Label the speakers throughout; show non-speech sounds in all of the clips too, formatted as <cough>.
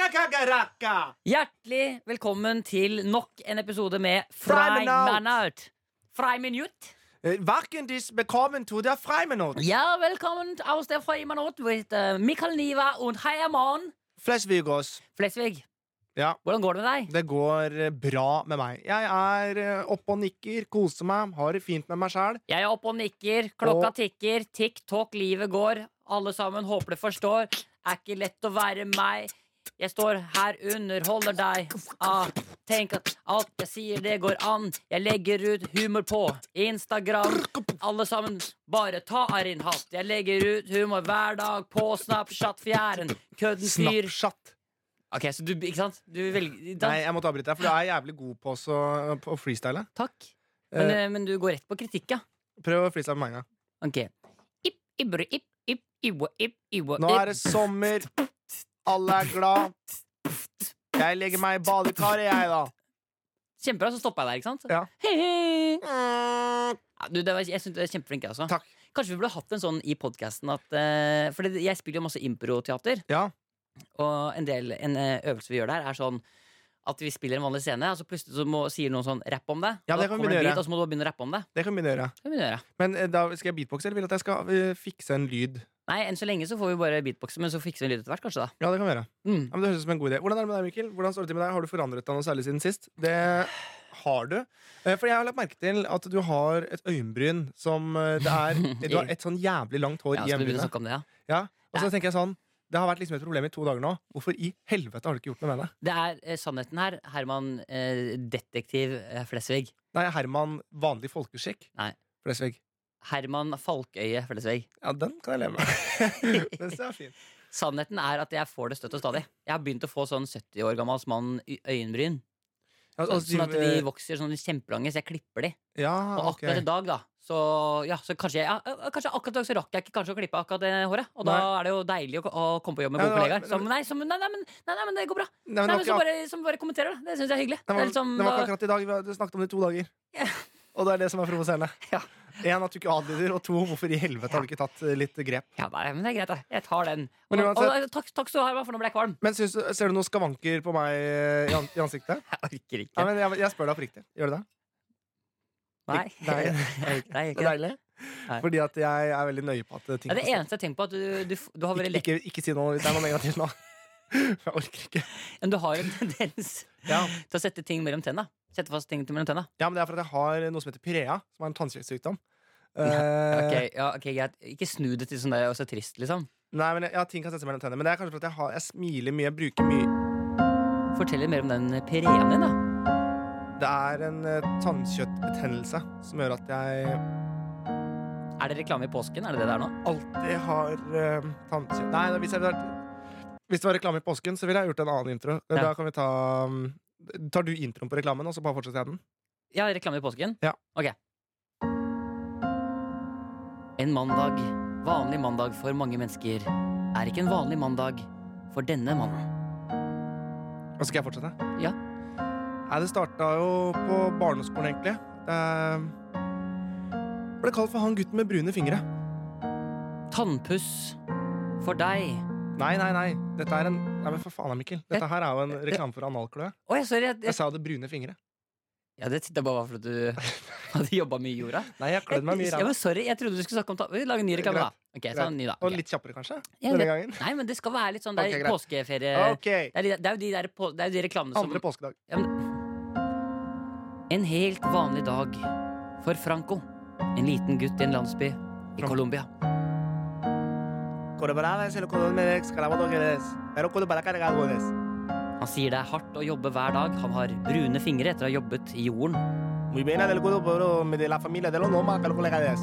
Speaker 1: Kakakaraka!
Speaker 2: Hjertelig velkommen til nok en episode med
Speaker 1: Frei Minutt.
Speaker 2: Freiminutt. Freiminutt.
Speaker 1: Varken dis bekommen to der Freiminut.
Speaker 2: Ja, velkommen aus der Freiminut with eh, Mikael Niva und Heia Mann.
Speaker 1: Flesvigås.
Speaker 2: Flesvig,
Speaker 1: Ja,
Speaker 2: hvordan går det med deg?
Speaker 1: det går eh, bra med meg. Jeg er eh, oppe og nikker, koser meg, har det fint med meg sjæl.
Speaker 2: Jeg er oppe og nikker, klokka
Speaker 1: Og-
Speaker 2: tikker, tikk-tokk, livet går. Alle sammen håper du forstår. Er ikke lett å være meg. Jeg står her, underholder deg. Ah, tenk at alt jeg sier, det går an. Jeg legger ut humor på Instagram. Alle sammen, bare ta av din hatt. Jeg legger ut humor hver dag på Snapchat fjæren. Kødden fyr.
Speaker 1: Snapchat.
Speaker 2: Ok, så du, ikke sant? Du velger da,
Speaker 1: Nei, jeg måtte avbryte deg, for du er jævlig god på også, eh, på å freestyle.
Speaker 2: Takk. Men,
Speaker 1: Eh.
Speaker 2: eh, men du går rett på kritikk, ja.
Speaker 1: Prøv å freestyle med meg en gang.
Speaker 2: Ok. Ip, ibru, ip, ip, iwa, ip, iwa,
Speaker 1: Nå
Speaker 2: ip.
Speaker 1: er det sommer, alle er glad. Jeg legger meg i badekaret, jeg, da.
Speaker 2: Kjempebra, så stoppa jeg der, ikke sant?
Speaker 1: Ja.
Speaker 2: Hei, hei. Ja, du, det var, jeg synes du er kjempeflink, jeg også.
Speaker 1: Takk.
Speaker 2: Kanskje vi burde hatt en sånn i podkasten at eh, For det- jeg spiller jo masse improteater,
Speaker 1: Ja.
Speaker 2: og en del en eh, øvelse vi gjør der, er sånn at vi spiller en vanlig scene, og så plutselig så må, sier noen sånn 'rapp om det'.
Speaker 1: Ja,
Speaker 2: og
Speaker 1: det kan vi
Speaker 2: da kommer en
Speaker 1: begynne å
Speaker 2: beat, Og så må du bare begynne å rappe om det.
Speaker 1: Det kan vi begynne å gjøre.
Speaker 2: Det kan vi begynne å gjøre.
Speaker 1: Men eh, da skal jeg beatboxe, eller vil du at jeg skal eh, fikse en lyd?
Speaker 2: Nei, enn så lenge så får vi bare beatboxe, men så fikser vi en lyd etter hvert, kanskje, da.
Speaker 1: Ja, det kan vi gjøre.
Speaker 2: Mm.
Speaker 1: Ja, men det høres ut som en god idé. Hvordan er det med deg, Mikkel? Hvordan står det til med deg? Har du forandret deg noe særlig siden sist? Det har du. Eh, For jeg har lagt merke til at du har et øyenbryn som eh, det
Speaker 2: <laughs>
Speaker 1: er Du har et sånn jævlig langt hår
Speaker 2: Ja,
Speaker 1: i
Speaker 2: skal vi begynne
Speaker 1: øyenbrynet.
Speaker 2: å snakke om det, ja.
Speaker 1: Ja. Og så tenker jeg sånn Det har vært liksom et problem i to dager nå. Hvorfor i helvete har du ikke gjort noe med det?
Speaker 2: Det er eh, sannheten her. Herman eh, detektiv eh, Flesvig.
Speaker 1: Nei, Herman, vanlig folkeskikk.
Speaker 2: Nei.
Speaker 1: Flesvig.
Speaker 2: Herman Falkøye Flesvig.
Speaker 1: Ja, den kan jeg leve
Speaker 2: <laughs>
Speaker 1: med. den ser jeg fin.
Speaker 2: Sannheten er at jeg får det støtt og stadig. Jeg har begynt å få sånn 70 år gammel mann i øyenbryn.
Speaker 1: Ja,
Speaker 2: Så,
Speaker 1: og-
Speaker 2: sånn at de vokser sånn kjempelange, så jeg klipper de.
Speaker 1: ja,
Speaker 2: Og
Speaker 1: Ah, ok.
Speaker 2: akkurat i dag, da, så, ja, så kanskje, jeg, ja, ø- ø- kanskje akkurat i dag så rakk jeg ikke kanskje å klippe akkurat det håret. Og da er det jo deilig å, ko- å komme på jobb med
Speaker 1: Ja,
Speaker 2: gode
Speaker 1: det var-
Speaker 2: kollegaer. Som, nei, som, nei, nei, men, nei, nei, men det går bra.
Speaker 1: Nei, men det var
Speaker 2: Nei, men
Speaker 1: ikke
Speaker 2: som bare, som bare kommenterer, da. Det syns jeg er hyggelig.
Speaker 1: Det
Speaker 2: Det
Speaker 1: var,
Speaker 2: er liksom,
Speaker 1: det var ikke
Speaker 2: da,
Speaker 1: akkurat i dag. Vi har snakket om det i to dager.
Speaker 2: Ja.
Speaker 1: Og det er det som er provoserende.
Speaker 2: <laughs> Ja.
Speaker 1: En, at du ikke adlyder, og to, hvorfor i helvete har du ikke tatt eh, litt grep?
Speaker 2: ja, nei, men det er greit, da. Jeg tar den.
Speaker 1: Men
Speaker 2: Og, og,
Speaker 1: uansett-
Speaker 2: takk, takk skal du ha, Herman, for nå ble jeg kvalm.
Speaker 1: Men syns du, Ser du noen skavanker på meg eh, i, an i ansiktet?
Speaker 2: Jeg orker
Speaker 1: Nei,
Speaker 2: ikke.
Speaker 1: men jeg, jeg spør deg oppriktig. Gjør du det?
Speaker 2: Nei, <laughs>
Speaker 1: Nei.
Speaker 2: jeg orker
Speaker 1: Det er
Speaker 2: ikke.
Speaker 1: deilig.
Speaker 2: Nei.
Speaker 1: Fordi at jeg er veldig nøye på at eh, ting
Speaker 2: Det er det eneste jeg tenker på, at du, du, f- du har veldig
Speaker 1: ikke,
Speaker 2: lett
Speaker 1: ikke, ikke si noe hvis det er noe negativt nå. <laughs> Jeg orker ikke.
Speaker 2: Men du har jo en <laughs> tendens
Speaker 1: Ja.
Speaker 2: til å sette ting mellom tenna. Sette fast ting til mellom tenna.
Speaker 1: ja, men det er fordi jeg har noe som heter Pirea, som er en tannkjøttsykdom.
Speaker 2: Ok,
Speaker 1: Eh,
Speaker 2: ja, ok, greit. Ikke snu det til sånn der og så trist, liksom.
Speaker 1: Nei, men jeg, ja, ting kan sette seg mellom tennene. Men det er kanskje fordi jeg, har, jeg smiler mye, bruker mye
Speaker 2: Fortell litt mer om den pireen din, da.
Speaker 1: Det er en eh, tannkjøttbetennelse som gjør at jeg
Speaker 2: Er det reklame i påsken? Er det det der nå?
Speaker 1: alltid har eh, tannkjøtt Nei, da, hvis, jeg, hvis det var reklame i påsken, så ville jeg gjort en annen intro.
Speaker 2: Ja.
Speaker 1: Da kan vi ta mm, Tar du introen på reklamen, og så bare fortsetter jeg den?
Speaker 2: Ja, reklame i påsken?
Speaker 1: Ja.
Speaker 2: Ok. En mandag, vanlig mandag for mange mennesker, er ikke en vanlig mandag for denne mannen.
Speaker 1: Og så skal jeg fortsette?
Speaker 2: Ja.
Speaker 1: Nei, det starta jo på barneskolen, egentlig. Det ble kalt for han gutten med brune fingre.
Speaker 2: Tannpuss for deg.
Speaker 1: Nei, nei, nei. Dette er en Nei, men for faen da, Mikkel. Dette her er jo en reklame for analkløe.
Speaker 2: Å, jeg, sorry. Jeg,
Speaker 1: Jeg
Speaker 2: jeg,
Speaker 1: sa jo det brune fingre.
Speaker 2: ja, det tittet bare var fordi <laughs> du hadde jobba mye i jorda.
Speaker 1: Nei, jeg klødde meg mye i
Speaker 2: Ja,
Speaker 1: ræva.
Speaker 2: men sorry, jeg trodde du skulle snakke om ta Vi lager en ny reklame, da. Ok, ta en ny da
Speaker 1: Og
Speaker 2: Ok.
Speaker 1: litt kjappere, kanskje?
Speaker 2: Ja,
Speaker 1: Denne
Speaker 2: greit.
Speaker 1: gangen.
Speaker 2: Nei, men det skal være litt sånn Det er
Speaker 1: Ok, greit.
Speaker 2: påskeferie
Speaker 1: Ok.
Speaker 2: det, er, de- det er jo de der på, Det er jo de reklamene som
Speaker 1: Andre påskedag.
Speaker 2: Ja, men... En helt vanlig dag for Franco En liten gutt i en landsby i
Speaker 1: Franco.
Speaker 2: Colombia
Speaker 1: Corporales, el codón me dex, calabozo que des. Pero cuando para cargar goles.
Speaker 2: Han sier det er hardt å jobbe hver dag Han har brune fingre etter å ha jobbet i jorden
Speaker 1: Muy bien, del cudo, pero de la familia de los nomás, pero colega des.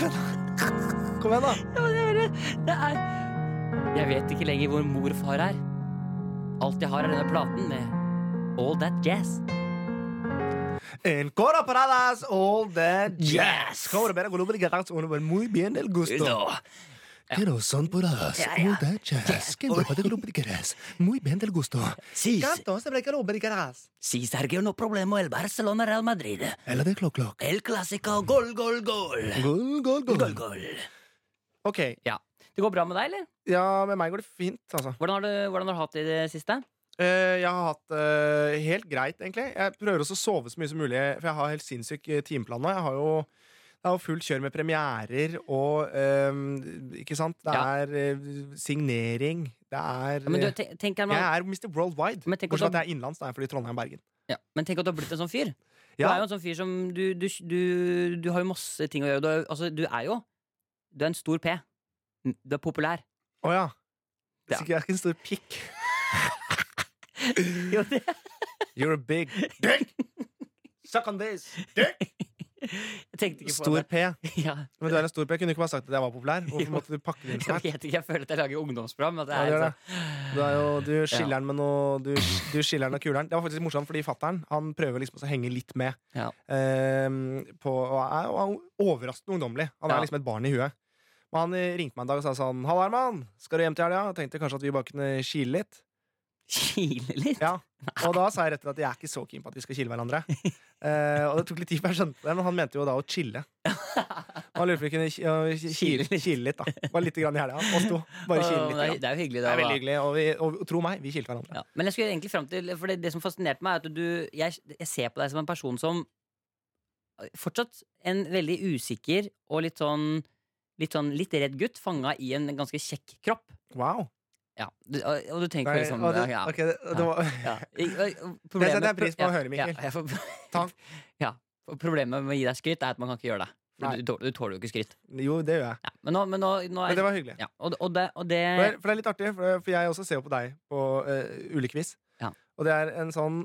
Speaker 1: Kom igjen, da.
Speaker 2: Jeg vet ikke lenger hvor mor og far er Alt jeg har er denne platen med All That Jazz
Speaker 1: En corporadas all the
Speaker 2: Yes.
Speaker 1: Corporales, cudo, pero que das uno, pero muy bien del gusto. Pero son poradas,
Speaker 2: Ja, ja.
Speaker 1: all the jazz. Que no puede cudo, pero que das. Muy bien del gusto.
Speaker 2: Sis,
Speaker 1: Canto, se breca lo, pero que das.
Speaker 2: sis, Sergio, no problemo El Barcelona Real Madrid
Speaker 1: Ella de clock clock.
Speaker 2: El Clásico, gol, gol, gol
Speaker 1: Gol, gol,
Speaker 2: Gol,
Speaker 1: gol.
Speaker 2: gol
Speaker 1: Ok,
Speaker 2: Ja, Det går bra med deg, eller?
Speaker 1: Ja, med meg går det fint, altså.
Speaker 2: Hvordan har du, hvordan har du hatt det i det siste?
Speaker 1: Eh, jeg har hatt det helt greit, egentlig. Jeg prøver også å sove så mye som mulig, for jeg har helt sinnssyk eh, timeplan nå. Jeg har jo det er jo fullt kjør med premierer og eh, Ikke sant? Det
Speaker 2: Ja.
Speaker 1: er eh, signering. Det er
Speaker 2: Ja, men, du,
Speaker 1: eh,
Speaker 2: te- tenk deg,
Speaker 1: Jeg
Speaker 2: man,
Speaker 1: er Mr. Worldwide.
Speaker 2: Men sånn tenk
Speaker 1: Bortsett fra at
Speaker 2: hvordan-
Speaker 1: jeg er innenlands, da er jeg fordi Trondheim og Bergen.
Speaker 2: ja, men tenk at du har blitt en sånn fyr. Du
Speaker 1: Ja.
Speaker 2: er jo en sånn fyr som Du, du, du, du har jo masse ting å gjøre. Du er, altså, du er jo Du er en stor P. Du
Speaker 1: <laughs>
Speaker 2: er populær.
Speaker 1: Å ja.
Speaker 2: Ja.
Speaker 1: Hvis ikke jeg er ikke en stor pikk.
Speaker 2: Jo, det-
Speaker 1: You're a big dick! Suck on this! Dick!
Speaker 2: <laughs> Jeg tenkte ikke på
Speaker 1: Stor
Speaker 2: det.
Speaker 1: P.
Speaker 2: Ja,
Speaker 1: Men du er en stor P. Jeg kunne ikke bare sagt at jeg var populær. Hvorfor
Speaker 2: <laughs> Jo.
Speaker 1: måtte du pakke det inn
Speaker 2: <laughs> jeg
Speaker 1: sånn? her?
Speaker 2: vet ikke, jeg føler at jeg lager ungdomsprogram. At det
Speaker 1: Ja,
Speaker 2: er
Speaker 1: du gjør
Speaker 2: liksom-
Speaker 1: Du, er jo, du skiller den med noe Du, du skiller den og kuler den. Det var faktisk litt morsomt, fordi fattern han prøver liksom å henge litt med.
Speaker 2: Ja.
Speaker 1: Ehm, på, og er, og er overraskende ungdommelig. Han er
Speaker 2: Ja.
Speaker 1: liksom et barn i huet. Men han eh, ringte meg en dag og sa sånn 'Halla, Herman. Skal du hjem til helga?' Jeg Tenkte kanskje at vi bare kunne kile litt.
Speaker 2: <laughs> Kile litt.
Speaker 1: Ja. Og da sa jeg rett og slett at jeg er ikke så keen på at vi skal kile hverandre. Eh, og det tok litt tid før jeg skjønte det, men han mente jo da å chille. Og han lurte på om vi kunne ki- å ki-
Speaker 2: Kile
Speaker 1: kile,
Speaker 2: litt.
Speaker 1: kile litt, da. Bare lite grann i helga. Oss to. Bare
Speaker 2: Å,
Speaker 1: kile
Speaker 2: men
Speaker 1: litt.
Speaker 2: det, er,
Speaker 1: grann.
Speaker 2: det er jo hyggelig.
Speaker 1: Det
Speaker 2: Da,
Speaker 1: er veldig
Speaker 2: da.
Speaker 1: hyggelig. Og, vi, og tro meg, vi kilte hverandre.
Speaker 2: Ja. Men jeg skulle egentlig fram til For det, det som fascinerte meg, er at du jeg, jeg ser på deg som en person som fortsatt en veldig usikker og litt sånn Litt sånn litt redd gutt fanga i en ganske kjekk kropp.
Speaker 1: Wow.
Speaker 2: Ja, du, og, og du tenker
Speaker 1: Nei,
Speaker 2: på liksom
Speaker 1: og det,
Speaker 2: ja,
Speaker 1: ok, det, det var, <laughs>
Speaker 2: ja. I- og- og
Speaker 1: Det setter
Speaker 2: problemet-
Speaker 1: jeg pris på å
Speaker 2: ja,
Speaker 1: høre, Mikkel.
Speaker 2: Ja, jeg får,
Speaker 1: <laughs> Takk.
Speaker 2: <laughs> Ja, for problemet med å gi deg skryt er at man kan ikke gjøre det.
Speaker 1: Nei.
Speaker 2: For du, du, tåler- du tåler jo ikke skryt.
Speaker 1: jo, det gjør jeg.
Speaker 2: Ja, men nå, men nå, nå er
Speaker 1: Men det var hyggelig.
Speaker 2: ja, og, og det, og det
Speaker 1: For, for det er litt artig, for, for jeg også ser jo på deg på eh, ulike vis.
Speaker 2: Ja.
Speaker 1: Og det er en sånn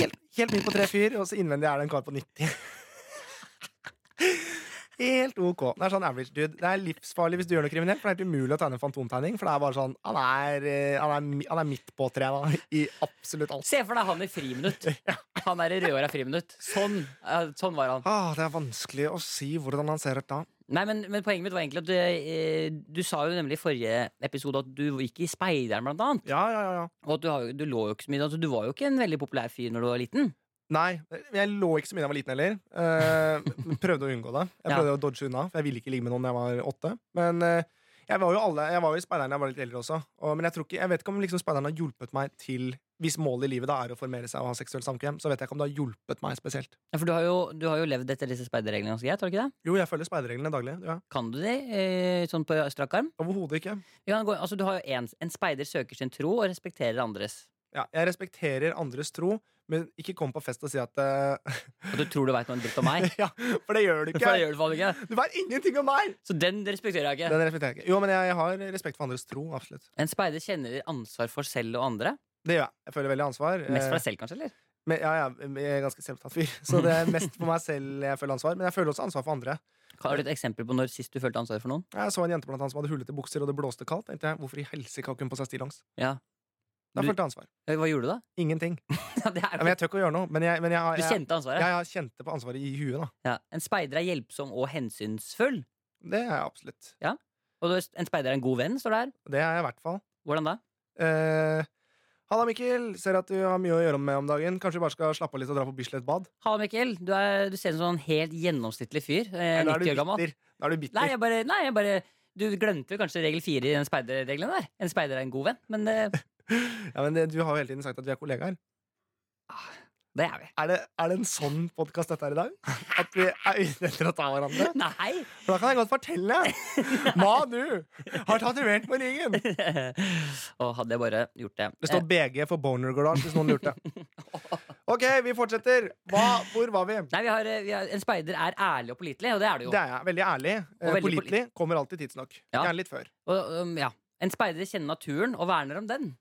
Speaker 1: helt, helt midt på tre fyr, og så innvendig er det en kar på 90. <laughs> Helt ok. Det er sånn average dude. Det er livsfarlig hvis du gjør noe kriminelt, for det er helt umulig å tegne en fantomtegning. For det er bare sånn Han er, eh, han er, mi- han er midt på treet da, i absolutt alt.
Speaker 2: Se for deg han i
Speaker 1: <laughs>
Speaker 2: friminutt. Han er i rødhåra friminutt. Sånn, eh, sånn var han.
Speaker 1: Ah, det er vanskelig å si hvordan han ser ut da.
Speaker 2: Nei, men, men poenget mitt var egentlig at du, eh, du sa jo nemlig i forrige episode at du gikk i speideren, blant annet.
Speaker 1: Ja, ja, ja, ja.
Speaker 2: Og at du, har, jo- du lå jo ikke så mye. Altså, du var jo ikke en veldig populær fyr når du var liten.
Speaker 1: Nei, jeg lå ikke så mye da jeg var liten heller. Eh,
Speaker 2: <laughs>
Speaker 1: prøvde å unngå det. Jeg
Speaker 2: Ja.
Speaker 1: prøvde å dodge unna, for jeg ville ikke ligge med noen da jeg var åtte. Men eh, jeg var jo alle, jeg var jo i speideren da jeg var litt eldre også. Og, men jeg, tror ikke, jeg vet ikke om liksom speideren har hjulpet meg til Hvis målet i livet da er å formere seg og ha seksuelt samkvem, så vet jeg ikke om det har hjulpet meg spesielt.
Speaker 2: Ja, for du har jo, du har jo levd etter disse speiderreglene ganske greit, har du ikke det?
Speaker 1: Jo, jeg følger speiderreglene daglig. Ja.
Speaker 2: Kan du de eh, sånn på strak arm?
Speaker 1: Overhodet ikke.
Speaker 2: Vi kan gå, altså, du har jo en, en speider søker sin tro og respekterer andres.
Speaker 1: Ja, jeg respekterer andres tro, men ikke kom på fest og si at eh, <laughs>
Speaker 2: Og du tror du veit noe dritt om meg?
Speaker 1: Ja, for det gjør du
Speaker 2: For jeg
Speaker 1: ikke.
Speaker 2: gjør det faen ikke.
Speaker 1: Du vet ingenting om meg!
Speaker 2: Så den respekterer jeg ikke.
Speaker 1: Den respekterer jeg ikke. Jo, men jeg, jeg har respekt for andres tro. Absolutt.
Speaker 2: En speider kjenner ansvar for selv og andre.
Speaker 1: Det gjør jeg. Jeg føler veldig ansvar.
Speaker 2: Mest
Speaker 1: Eh,
Speaker 2: for deg selv, kanskje? eller?
Speaker 1: Men, ja, ja, jeg er ganske selvtatt fyr, <laughs> så det er mest for meg selv jeg føler ansvar. Men jeg føler også ansvar for andre.
Speaker 2: Har du et eksempel på når sist du følte ansvar for noen?
Speaker 1: Jeg så en jente blant annet som hadde hullete bukser, og det blåste kaldt. tenkte jeg, Hvorfor i helsike har ikke hun på seg stillongs?
Speaker 2: Ja.
Speaker 1: Da
Speaker 2: Du-
Speaker 1: følte jeg ansvar.
Speaker 2: Eh, Hva gjorde du da? <laughs>
Speaker 1: Ingenting.
Speaker 2: Ja, det
Speaker 1: Ja,
Speaker 2: er,
Speaker 1: Men jeg tør ikke å gjøre noe. Men jeg, men jeg,
Speaker 2: du
Speaker 1: jeg, jeg,
Speaker 2: kjente
Speaker 1: jeg,
Speaker 2: ansvaret?
Speaker 1: kjente på ansvaret i huet, da.
Speaker 2: Ja. En speider er hjelpsom og hensynsfull.
Speaker 1: Det er jeg absolutt.
Speaker 2: Og du- en speider er en god venn, står det her.
Speaker 1: Det er jeg i hvert fall.
Speaker 2: Hvordan da?
Speaker 1: Eh, Halla, Mikkel. Ser at du har mye å gjøre med om dagen. Kanskje vi bare skal slappe av litt og dra på Bislett bad?
Speaker 2: Hallo, Mikkel. Du, er, du ser ut som en sånn helt gjennomsnittlig fyr. Eh,
Speaker 1: Eller er
Speaker 2: 90
Speaker 1: du
Speaker 2: år gammel.
Speaker 1: bitter? Da er du
Speaker 2: Nei,
Speaker 1: bitter.
Speaker 2: jeg bare, nei, jeg bare Du glemte vel kanskje regel fire i den speiderregelen der. En speider er en god venn, men eh,
Speaker 1: <laughs> Ja, men det, du har jo hele tiden sagt at vi er kollegaer.
Speaker 2: det er vi. <laughs>
Speaker 1: Er det, er det en sånn podkast dette er i dag? At vi er ute etter å ta hverandre?
Speaker 2: Nei! <laughs>
Speaker 1: For da kan jeg godt fortelle. Manu har tatovert på ryggen.
Speaker 2: og hadde jeg bare gjort det.
Speaker 1: Det står BG for Boner Garage, hvis noen lurte. Ok, vi fortsetter. Hva, hvor var vi?
Speaker 2: Eh, nei, vi har, eh, vi har, en speider er ærlig og pålitelig, og det er det jo.
Speaker 1: Det er jeg. Veldig ærlig. Eh,
Speaker 2: Og veldig
Speaker 1: Pålitelig. Kommer alltid tidsnok.
Speaker 2: Ja.
Speaker 1: Gjerne litt før.
Speaker 2: Og, um, ja. En speider kjenner naturen og verner om den.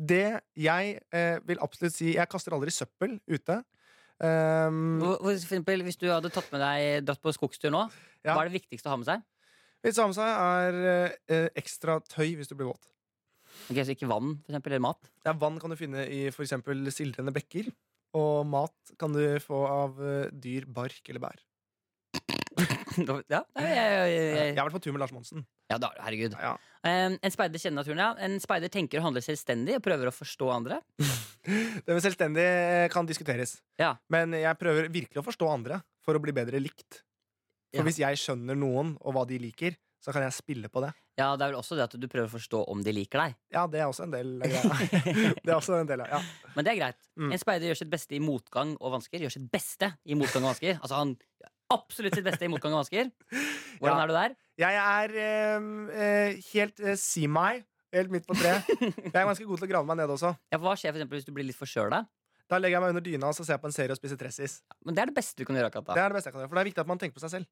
Speaker 1: Det jeg eh, vil absolutt si Jeg kaster aldri søppel ute. Um,
Speaker 2: For, for eksempel, hvis du hadde tatt med deg dratt på skogstur nå,
Speaker 1: Ja.
Speaker 2: hva er det viktigste å ha med seg?
Speaker 1: Litt samme seg er eh, ekstra tøy hvis du blir våt.
Speaker 2: Ok, så Ikke vann, for eksempel, eller mat. <laughs>
Speaker 1: Ja, vann kan du finne i for eksempel sildrende bekker. Og mat kan du få av eh, dyr, bark eller bær.
Speaker 2: ja, nei, jeg, jeg,
Speaker 1: Jeg
Speaker 2: jeg,
Speaker 1: har vært på tur med Lars Monsen. <laughs>
Speaker 2: ja da, herregud.
Speaker 1: Ja.
Speaker 2: Um, en speider kjenner naturen, ja. En speider tenker og handler selvstendig og prøver å forstå andre.
Speaker 1: Det med selvstendig eh, kan diskuteres.
Speaker 2: Ja.
Speaker 1: Men jeg prøver virkelig å forstå andre for å bli bedre likt. For
Speaker 2: Ja.
Speaker 1: hvis jeg skjønner noen og hva de liker, så kan jeg spille på det.
Speaker 2: Ja, det er vel også det at du prøver å forstå om de liker deg.
Speaker 1: Ja, det er også en del av
Speaker 2: <laughs>
Speaker 1: greia. Det er også en del av, ja.
Speaker 2: Men det er greit.
Speaker 1: Mm.
Speaker 2: En speider gjør sitt beste i motgang og vansker. Gjør sitt beste i motgang og vansker. Altså han gjør Absolutt sitt beste i motgang
Speaker 1: <laughs>
Speaker 2: og vansker. Hvordan
Speaker 1: Ja.
Speaker 2: er du der?
Speaker 1: Jeg er eh, eh, helt eh, Si meg. Helt midt på treet. Jeg er ganske god til å grave meg ned også.
Speaker 2: Ja, for hva skjer for eksempel hvis du blir litt forkjøla?
Speaker 1: Da legger jeg meg under dyna og så ser jeg på en serie og spiser tressis.
Speaker 2: Men det er det beste du kan gjøre.
Speaker 1: Det
Speaker 2: Akata.
Speaker 1: er det beste jeg kan gjøre, for det er viktig at man tenker på seg selv.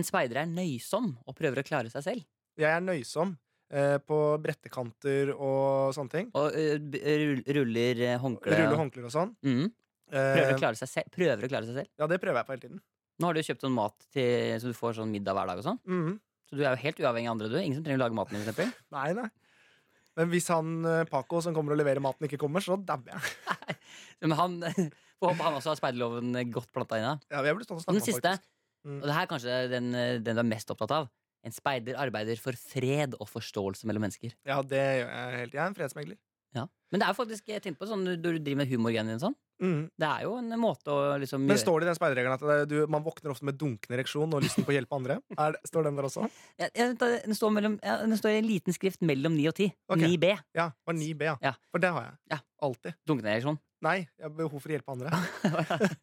Speaker 2: En speider er nøysom og prøver å klare seg selv.
Speaker 1: Jeg er nøysom eh, på brettekanter og sånne ting.
Speaker 2: Og ø, b- rull- ruller eh, håndkle.
Speaker 1: Rulle håndklær og
Speaker 2: <laughs>
Speaker 1: sånn.
Speaker 2: Mm. Prøver, å
Speaker 1: Eh,
Speaker 2: klare seg selv. prøver å klare seg selv.
Speaker 1: ja, det prøver jeg på hele tiden.
Speaker 2: Nå har du jo kjøpt sånn mat til, så du får sånn middag hver dag. og sånn
Speaker 1: Mhm.
Speaker 2: Så du er jo helt uavhengig av andre. du Ingen som trenger å lage maten din. for eksempel.
Speaker 1: <laughs> Nei, nei. Men hvis han eh, Paco som kommer og leverer maten, ikke kommer, så dabber jeg.
Speaker 2: Men han, <laughs> Får håpe han også har speiderloven eh, godt planta inn. da.
Speaker 1: Ja, jeg burde stått og
Speaker 2: Og
Speaker 1: snakke
Speaker 2: den siste,
Speaker 1: Mm.
Speaker 2: og det her er kanskje den, eh, den du er mest opptatt av. En speider arbeider for fred og forståelse mellom mennesker.
Speaker 1: Ja, det gjør jeg helt. Jeg er en fredsmegler.
Speaker 2: Men det er jo faktisk, jeg tenkte på sånn, når du driver med humorgreiene dine sånn,
Speaker 1: Mhm.
Speaker 2: det er jo en måte å liksom
Speaker 1: Men
Speaker 2: gjøre
Speaker 1: står det i den speiderregelen at det, du, man våkner ofte med dunkende ereksjon og lysten på å hjelpe andre? Er, det- står den der også?
Speaker 2: Ja, ja, vent da, den, står mellom, ja, den står i en liten skrift mellom 9 og 10.
Speaker 1: Ok.
Speaker 2: 9B.
Speaker 1: Ja, det var 9B, ja.
Speaker 2: Ja.
Speaker 1: For det har jeg.
Speaker 2: Ja.
Speaker 1: Alltid.
Speaker 2: Dunkende ereksjon.
Speaker 1: Nei, jeg har behov for å hjelpe andre.
Speaker 2: <laughs>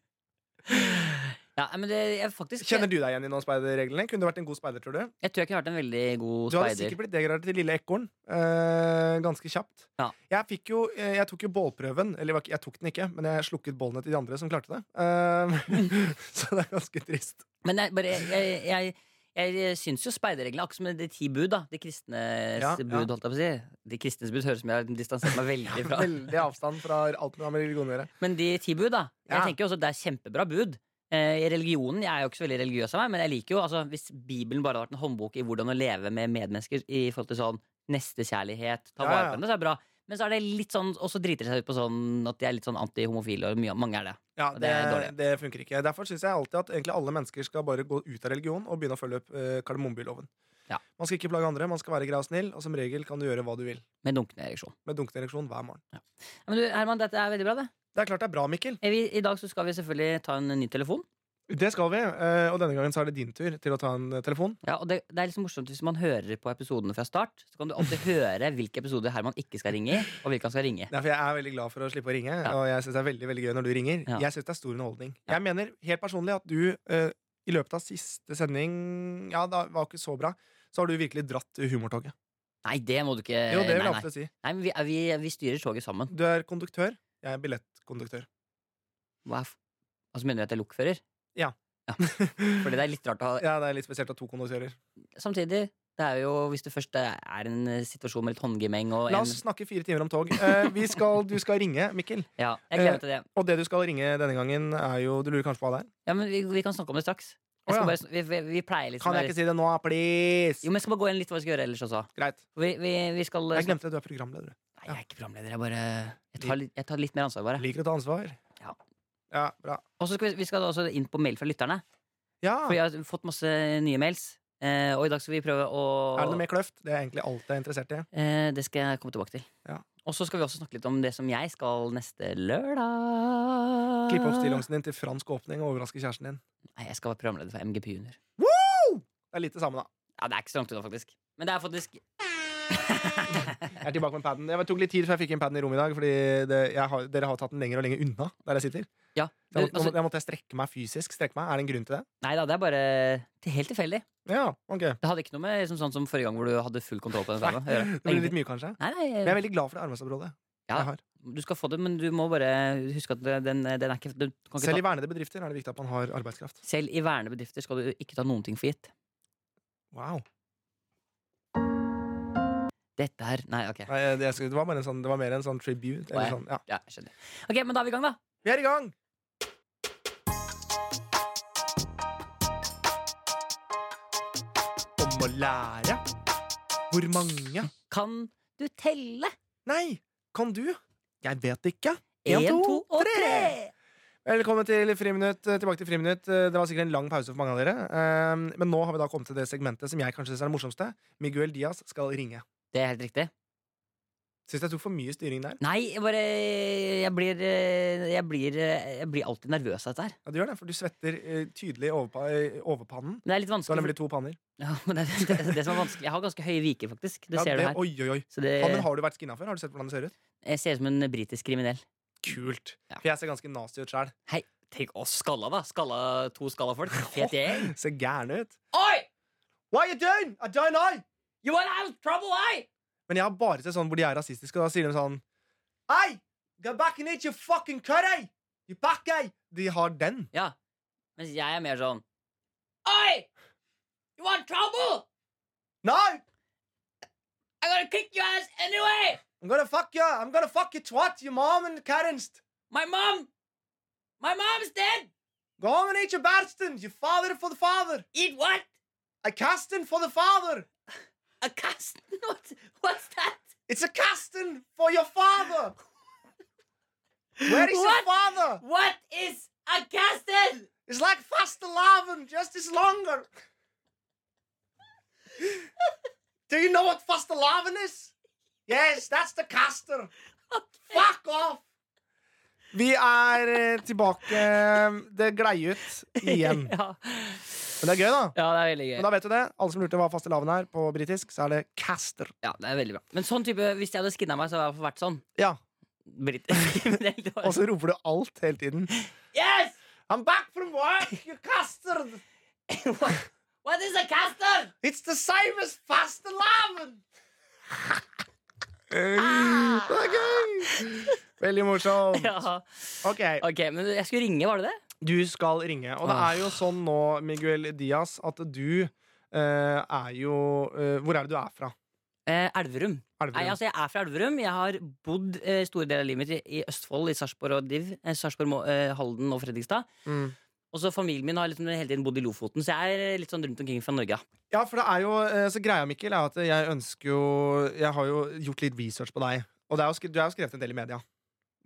Speaker 2: Ja, men det, jeg faktisk
Speaker 1: Kjenner
Speaker 2: jeg,
Speaker 1: du deg igjen i noen speiderreglene? Kunne du vært en god speider, tror du?
Speaker 2: jeg tror jeg kunne vært en veldig god
Speaker 1: Du hadde
Speaker 2: speider.
Speaker 1: sikkert blitt degradert til lille ekorn eh, ganske kjapt.
Speaker 2: Ja.
Speaker 1: Jeg, fikk jo, eh, jeg tok jo bålprøven. Eller det var ikke- jeg tok den ikke, men jeg slukket bålene til de andre som klarte det. Eh, <laughs> så det er ganske trist.
Speaker 2: Men jeg, bare, jeg, jeg, jeg, jeg syns jo speiderreglene, akkurat som de ti bud, da. De kristnes
Speaker 1: Ja, ja.
Speaker 2: bud, holdt jeg på å si. De kristnes bud høres ut som jeg har distansert meg
Speaker 1: <laughs>
Speaker 2: veldig fra.
Speaker 1: Veldig avstand fra alt med religion å gjøre.
Speaker 2: Men de ti bud, da. Jeg
Speaker 1: Ja.
Speaker 2: tenker jo også at det er kjempebra bud. Eh, I religionen, Jeg er jo ikke så veldig religiøs av meg, men jeg liker jo altså, hvis Bibelen bare hadde vært en håndbok i hvordan å leve med medmennesker i forhold til sånn nestekjærlighet, ta
Speaker 1: Ja,
Speaker 2: vare
Speaker 1: ja.
Speaker 2: på henne, så er det bra. Men så er det litt sånn, og så driter de seg ut på sånn at de er litt sånn antihomofile, og mye, mange er det.
Speaker 1: Ja,
Speaker 2: Og
Speaker 1: det,
Speaker 2: det er
Speaker 1: det, funker ikke. Derfor syns jeg alltid at egentlig alle mennesker skal bare gå ut av religion og begynne å følge opp eh, kardemommebyloven.
Speaker 2: Ja.
Speaker 1: Man skal ikke plage andre, man skal være grei og snill, og som regel kan du gjøre hva du vil.
Speaker 2: Med dunkende ereksjon.
Speaker 1: Med dunkende ereksjon hver morgen.
Speaker 2: Ja, Men du, Herman, dette er veldig bra, det.
Speaker 1: Det er klart det er bra, Mikkel.
Speaker 2: Eh, Vi, I dag så skal vi selvfølgelig ta en ny telefon.
Speaker 1: Det skal vi. eh, og denne gangen så er det din tur til å ta en eh, telefon.
Speaker 2: Ja, og det, det er liksom morsomt Hvis man hører på episodene fra start, så kan du
Speaker 1: <laughs>
Speaker 2: alltid høre hvilke episoder Herman ikke skal ringe i, og hvilke han skal ringe i.
Speaker 1: Nei, for Jeg er veldig glad for å slippe å ringe, og jeg synes det er veldig veldig gøy når du ringer.
Speaker 2: Ja.
Speaker 1: Jeg synes det er stor underholdning. Jeg mener helt personlig at du eh, i løpet av siste sending Ja, det var ikke så bra. Så har du virkelig dratt humortoget.
Speaker 2: Nei, det må du ikke
Speaker 1: Jo, det vil jeg
Speaker 2: Eh, nei, nei.
Speaker 1: absolutt si.
Speaker 2: Nei, men vi, er- vi, vi styrer toget sammen.
Speaker 1: Du er konduktør. Jeg er billettkonduktør.
Speaker 2: Hva er f- altså, mener du at jeg er lokfører?
Speaker 1: Ja.
Speaker 2: Fordi det er litt rart å ha
Speaker 1: Ja, Det er litt spesielt av to konduktører.
Speaker 2: Samtidig, det er jo hvis det først er en eh, situasjon med litt håndgemeng og
Speaker 1: La
Speaker 2: en
Speaker 1: oss snakke fire timer om tog. Eh, vi skal, du skal ringe, Mikkel.
Speaker 2: Ja, jeg gleder meg til det.
Speaker 1: Og det du skal ringe denne gangen, er jo Du lurer kanskje på hva det er?
Speaker 2: Ja, men vi, vi kan snakke om det straks.
Speaker 1: Å,
Speaker 2: Jeg
Speaker 1: ja.
Speaker 2: skal bare, sn- vi, vi, vi pleier liksom
Speaker 1: Kan jeg ikke si det nå, please?
Speaker 2: Jo, men jeg skal bare gå inn litt hva vi skal gjøre ellers også.
Speaker 1: Greit.
Speaker 2: Vi, vi, vi skal
Speaker 1: Jeg glemte at du er programleder.
Speaker 2: Nei, jeg er ikke programleder. Jeg bare Jeg tar, litt- jeg tar litt mer ansvar, bare.
Speaker 1: du. Liker å ta ansvar.
Speaker 2: Ja.
Speaker 1: Ja, bra.
Speaker 2: Og så skal vi, vi skal da også inn på mail fra lytterne.
Speaker 1: Ja.
Speaker 2: For vi har fått masse nye mails. Eh, og i dag skal vi prøve å
Speaker 1: Er det noe mer kløft? Det er egentlig alt jeg er interessert i.
Speaker 2: eh, Det skal jeg komme tilbake til.
Speaker 1: Ja.
Speaker 2: Og så skal vi også snakke litt om det som jeg skal neste lørdag.
Speaker 1: Klipp opp stillongsen din til fransk åpning og overraske kjæresten din.
Speaker 2: Nei, jeg skal være programleder for MGP Junior.
Speaker 1: Det er litt det samme, da.
Speaker 2: Ja, det er ikke så langt unna, faktisk. Men det er faktisk
Speaker 1: Jeg er tilbake med padden. Jeg tok litt tid før jeg fikk inn padden i rommet i dag, fordi det, jeg har, dere har tatt den lenger og lenger unna der jeg sitter.
Speaker 2: Ja.
Speaker 1: Så jeg, må-
Speaker 2: Det,
Speaker 1: nå må-
Speaker 2: altså,
Speaker 1: jeg måtte jeg strekke meg fysisk. Strekke meg. Er det en grunn til det?
Speaker 2: nei da, det er bare til helt tilfeldig.
Speaker 1: Ja, ok.
Speaker 2: Det hadde ikke noe med liksom, sånn som forrige gang hvor du hadde full kontroll på den
Speaker 1: Nei,
Speaker 2: saken. å gjøre.
Speaker 1: <laughs> det blir litt mye, kanskje.
Speaker 2: Nei, nei,
Speaker 1: Men jeg er veldig glad for det arbeidsområdet
Speaker 2: Ja.
Speaker 1: jeg har.
Speaker 2: Du skal få det, men du må bare huske at det- den, den er ikke, du kan ikke
Speaker 1: Selv i
Speaker 2: ta,
Speaker 1: vernede bedrifter er det viktig at man har arbeidskraft.
Speaker 2: Selv i vernede bedrifter skal du ikke ta noen ting for gitt.
Speaker 1: Wow.
Speaker 2: Dette her Nei, ok.
Speaker 1: Nei, det, jeg skulle- det, var bare en sånn, det var mer en sånn tribute. Eller sånn, ja.
Speaker 2: Ja, jeg skjønner. Ok, Men da er vi i gang, da.
Speaker 1: Vi er i gang! Om å lære. Hvor mange?
Speaker 2: Kan du telle?
Speaker 1: Nei, kan du? Jeg vet ikke. En,
Speaker 2: Én, to
Speaker 1: to,
Speaker 2: og
Speaker 1: tre.
Speaker 2: tre!
Speaker 1: Velkommen til friminutt, eh, tilbake til friminutt. Eh, Det var sikkert en lang pause for mange av dere. eh, Men nå har vi da kommet til det segmentet som jeg kanskje synes er det morsomste. Miguel Diaz skal ringe.
Speaker 2: Det er helt riktig.
Speaker 1: Syns jeg tok for mye styring der.
Speaker 2: Nei, jeg bare Jeg blir, eh, jeg blir, eh, jeg blir alltid nervøs av dette her.
Speaker 1: Ja, du gjør det, for du svetter eh, tydelig i overpa eh, overpannen.
Speaker 2: Men det er litt
Speaker 1: Du har
Speaker 2: vanskelig.
Speaker 1: nemlig to panner.
Speaker 2: <laughs> Ja, men det, er- det, er det som er vanskelig Jeg har ganske høye viker, faktisk. Det
Speaker 1: Ja,
Speaker 2: ser du her.
Speaker 1: Oi, oi, oi.
Speaker 2: Så det,
Speaker 1: Pannen har du vært skinna før? Har du sett hvordan det ser ut?
Speaker 2: jeg ser ut som en britisk kriminell.
Speaker 1: Kult.
Speaker 2: Ja.
Speaker 1: For jeg ser ganske nasty ut sjæl.
Speaker 2: Hei, tenk oss skalla, da. Skalla, to skalla folk. <laughs> Fet gjeng.
Speaker 1: <laughs> Ser gæren ut.
Speaker 2: Oi!
Speaker 1: Why you doing? I don't know.
Speaker 2: You want out of trouble, I?
Speaker 1: Men jeg har bare sett sånn hvor de er rasistiske, og da sier de sånn Hei! Go back and eat your fucking curry! You back, eh? De har den.
Speaker 2: Ja. Mens jeg er mer sånn Oi! You want trouble?
Speaker 1: No!
Speaker 2: I'm gonna kick your ass anyway!
Speaker 1: I'm gonna fuck you! I'm gonna fuck you twat, your mom and Karen's!
Speaker 2: My mom! My mom's dead!
Speaker 1: Go home and eat your bastards! Your father for the father!
Speaker 2: Eat what?
Speaker 1: A casting for the father!
Speaker 2: A cast? <laughs> What? What's that?
Speaker 1: It's a casting for your father!
Speaker 2: <laughs>
Speaker 1: Where is
Speaker 2: What?
Speaker 1: your father?
Speaker 2: What is a castle?
Speaker 1: It's like fast loving, just as longer. Do you know what fast loving is? Yes, that's the caster. Fuck off! Vi er eh, tilbake. Det glei ut igjen.
Speaker 2: <laughs> ja.
Speaker 1: Men det er gøy, da.
Speaker 2: ja, det er veldig gøy.
Speaker 1: Men da vet du det. Alle som lurte hva fastelavn er på britisk, så er det caster.
Speaker 2: Ja, det er veldig bra. Men sånn type, hvis jeg hadde skinna meg, så hadde jeg vært sånn.
Speaker 1: Ja,
Speaker 2: Britt. Men <laughs> det er egentlig
Speaker 1: Og
Speaker 2: bare-
Speaker 1: så roper du alt hele tiden.
Speaker 2: yes!
Speaker 1: I'm back from work, you custard!
Speaker 2: What, what is a caster?
Speaker 1: It's the same as fastelavn! det er gøy! Veldig morsomt.
Speaker 2: Ja,
Speaker 1: Ok,
Speaker 2: ok, men jeg skulle ringe, var det det?
Speaker 1: du skal ringe. Og det
Speaker 2: Ah.
Speaker 1: er jo sånn nå, Miguel Diaz, at du eh, er jo eh, Hvor er det du er fra?
Speaker 2: Eh, Elverum. Nei,
Speaker 1: Elverum?
Speaker 2: altså Jeg er fra Elverum. Jeg har bodd eh, store deler av livet mitt i, i Østfold, i Sarpsborg og Div. Eh, Sarpsborg, Må- eh, Halden og Fredrikstad.
Speaker 1: Mm.
Speaker 2: Og så Familien min har liksom hele tiden bodd i Lofoten, så jeg er litt sånn rundt omkring fra Norge.
Speaker 1: Ja, for det er jo eh, Så greia, Mikkel, er at jeg ønsker jo Jeg har jo gjort litt research på deg. Og det er jo, sk- du er jo skrevet en del i media.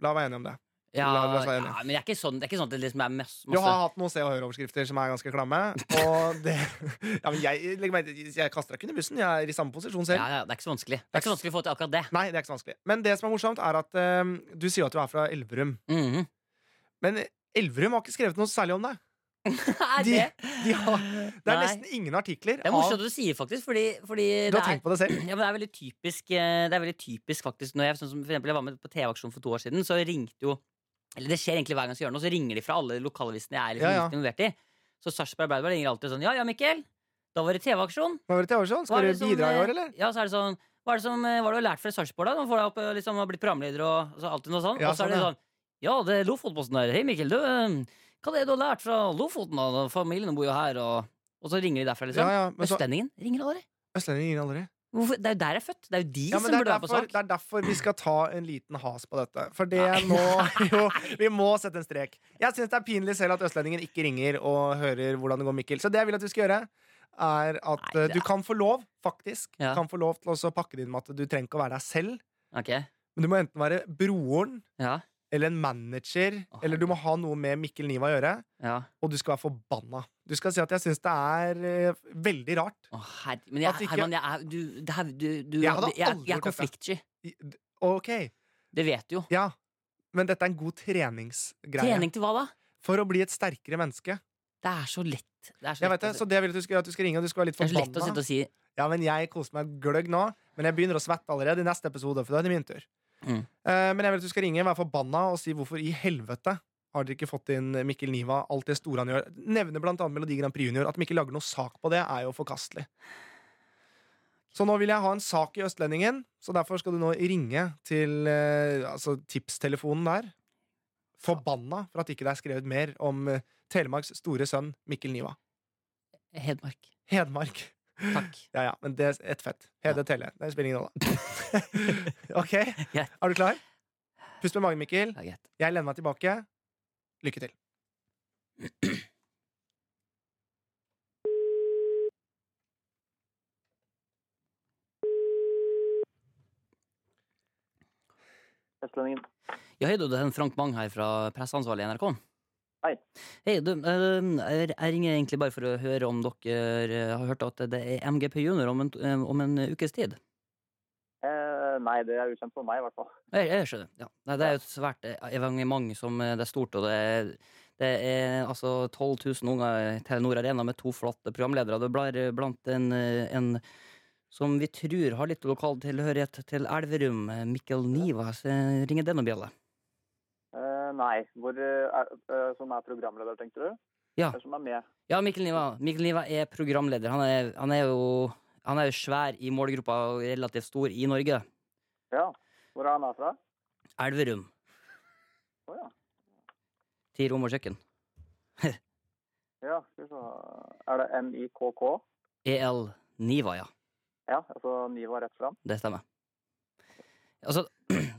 Speaker 1: La meg være enig om det.
Speaker 2: Ja,
Speaker 1: La- la oss
Speaker 2: ja,
Speaker 1: være enige.
Speaker 2: men det er ikke sånn, det er ikke sånn at det liksom er masse,
Speaker 1: Du
Speaker 2: masse.
Speaker 1: har hatt noen Se og Hør-overskrifter som er ganske klamme. Og det <laughs> Ja, men jeg, legg meg, jeg kaster deg ikke under bussen. Jeg er i samme posisjon selv.
Speaker 2: Ja, ja, det er ikke så vanskelig Det er ikke så vanskelig å få til akkurat det.
Speaker 1: Nei, det er ikke så vanskelig. Men det som er morsomt, er at eh, du sier jo at du er fra Elverum.
Speaker 2: Mhm.
Speaker 1: Men Elverum har ikke skrevet noe særlig om deg.
Speaker 2: Er
Speaker 1: De-
Speaker 2: <laughs> det?
Speaker 1: De har, det er
Speaker 2: Nei.
Speaker 1: nesten ingen artikler.
Speaker 2: Det er morsomt at du sier, faktisk. Fordi, fordi
Speaker 1: av, du
Speaker 2: det
Speaker 1: har
Speaker 2: er
Speaker 1: tenkt på det selv.
Speaker 2: <clears throat> Ja, men det er veldig typisk eh, Det er veldig typisk faktisk Når jeg, sånn som for eksempel, jeg var med på TV-aksjon for to år siden Så ringte jo Eller det skjer egentlig hver gang jeg gjør noe Så ringer de fra alle lokalavisene jeg er liksom
Speaker 1: Ja, ja.
Speaker 2: litt involvert i Så Sarpsborg Arbeiderblad ringer alltid sånn Ja, ja, Mikkel Da var det TV-aksjon
Speaker 1: Hva var det til Årsson? Skal
Speaker 2: Hva er
Speaker 1: du
Speaker 2: det som,
Speaker 1: bidra i
Speaker 2: eh,
Speaker 1: år, eller?
Speaker 2: Ja, så er det sånn Hva er det som eh, Hva er det du har lært fra Sarpsborg da? Nå får du opp eh, liksom Har blitt programleder og så alltid noe sånn
Speaker 1: Ja,
Speaker 2: Og så er det
Speaker 1: sånn, ja.
Speaker 2: sånn Ja, det er Lofotposten der Hei Mikkel, du eh, Hva er det du har lært fra Lofoten da? Familien bor jo her og Og så ringer de derfra
Speaker 1: Ja,
Speaker 2: liksom
Speaker 1: ja, men så
Speaker 2: Østlendingen ringer aldri
Speaker 1: Østlendingen ringer aldri.
Speaker 2: Hvorfor? Det er jo der jeg er født Det er jo de
Speaker 1: Ja, men
Speaker 2: som
Speaker 1: det, er
Speaker 2: burde være på
Speaker 1: derfor,
Speaker 2: sak
Speaker 1: det er derfor vi skal ta en liten has på dette. For det må
Speaker 2: <laughs>
Speaker 1: jo Vi må sette en strek. Jeg syns det er pinlig selv at østlendingen ikke ringer og hører hvordan det går, Mikkel. Så det jeg vil at du skal gjøre, er at
Speaker 2: Nei,
Speaker 1: eh,
Speaker 2: det
Speaker 1: du kan få lov, faktisk,
Speaker 2: Ja.
Speaker 1: kan få lov til å så pakke det inn med at du trenger ikke å være deg selv.
Speaker 2: Ok,
Speaker 1: Men du må enten være broren
Speaker 2: ja,
Speaker 1: eller en manager,
Speaker 2: Å,
Speaker 1: eller du må ha noe med Mikkel Niva å gjøre.
Speaker 2: ja
Speaker 1: Og du skal være forbanna. Du skal si at jeg syns det er eh, veldig rart.
Speaker 2: Å, herre Men jeg,
Speaker 1: At ikke-
Speaker 2: Herman, jeg er du, det her, du, du,
Speaker 1: Jeg hadde aldri
Speaker 2: jeg, jeg
Speaker 1: gjort
Speaker 2: er
Speaker 1: dette.
Speaker 2: konfliktsky
Speaker 1: I- d- OK.
Speaker 2: Det vet du jo
Speaker 1: Ja. Men dette er en god treningsgreie.
Speaker 2: Trening til hva da?
Speaker 1: For å bli et sterkere menneske.
Speaker 2: Det er så lett Det er så
Speaker 1: Jeg
Speaker 2: lett,
Speaker 1: vet det,
Speaker 2: å-
Speaker 1: så det jeg vil at du skal gjøre, at du skal ringe og du skal være litt
Speaker 2: det er så lett å
Speaker 1: forbanna.
Speaker 2: sitte og si
Speaker 1: Ja, men jeg koser meg gløgg nå, men jeg begynner å svette allerede i neste episode, for da er det min tur.
Speaker 2: Mm.
Speaker 1: Eh, men jeg vil at du skal ringe, være forbanna og si hvorfor i helvete har dere ikke fått inn Mikkel Niva, alt det store han gjør. Nevne blant annet Melodi Grand Prix Junior. At Mikkel lager noe sak på det, er jo forkastelig. Så nå vil jeg ha en sak i Østlendingen, så derfor skal du nå ringe til eh, altså tipstelefonen der. Forbanna for at ikke det er skrevet mer om eh, Telemarks store sønn Mikkel Niva.
Speaker 2: Hedmark,
Speaker 1: Hedmark.
Speaker 2: takk
Speaker 1: Ja, ja, men det er ett fett. Hede Telle. Det spiller ingen rolle. ok, er du klar? Pust med magen, Mikkel. <laughs>
Speaker 2: Det er greit
Speaker 1: Jeg lener meg tilbake. Lykke til.
Speaker 3: Østlendingen.
Speaker 2: Ja, hei du, det er en Frank Bang her fra presseansvarlig i NRK
Speaker 3: Hei.
Speaker 2: Hei du, eh, jeg jeg ringer egentlig bare for å høre om dere eh, har hørt at det er MGP Junior om en, eh, om en ukes tid
Speaker 3: Eh, nei, det er ukjent for meg, i hvert fall.
Speaker 2: Jeg, jeg skjønner. Ja. Nei, det er jo et svært eh, evenement som eh, det er stort, og det er, det er altså 12 000 unger i Telenor Arena med to flotte programledere. Det blir eh, blant en, eh, en som vi tror har litt lokal tilhørighet til Elverum, eh, Mikkel Niva. Så, eh, Ringer det noen bjelle?
Speaker 3: Eh, nei. Hvor, eh, er, eh, som er programleder, tenkte du?
Speaker 2: Ja.
Speaker 3: Eller som er med?
Speaker 2: Ja, Mikkel Niva. Mikkel Niva er programleder. Han er, han er, jo, han er jo svær i målgruppa og relativt stor i Norge.
Speaker 3: Ja. Hvor er han her fra?
Speaker 2: Elverum.
Speaker 3: Å ja.
Speaker 2: Ti rom og kjøkken.
Speaker 3: ja. Skal vi se. Er det MIKK?
Speaker 2: EL E Niva, ja.
Speaker 3: Ja, altså Niva rett fram.
Speaker 2: Det stemmer. Altså <clears throat> det,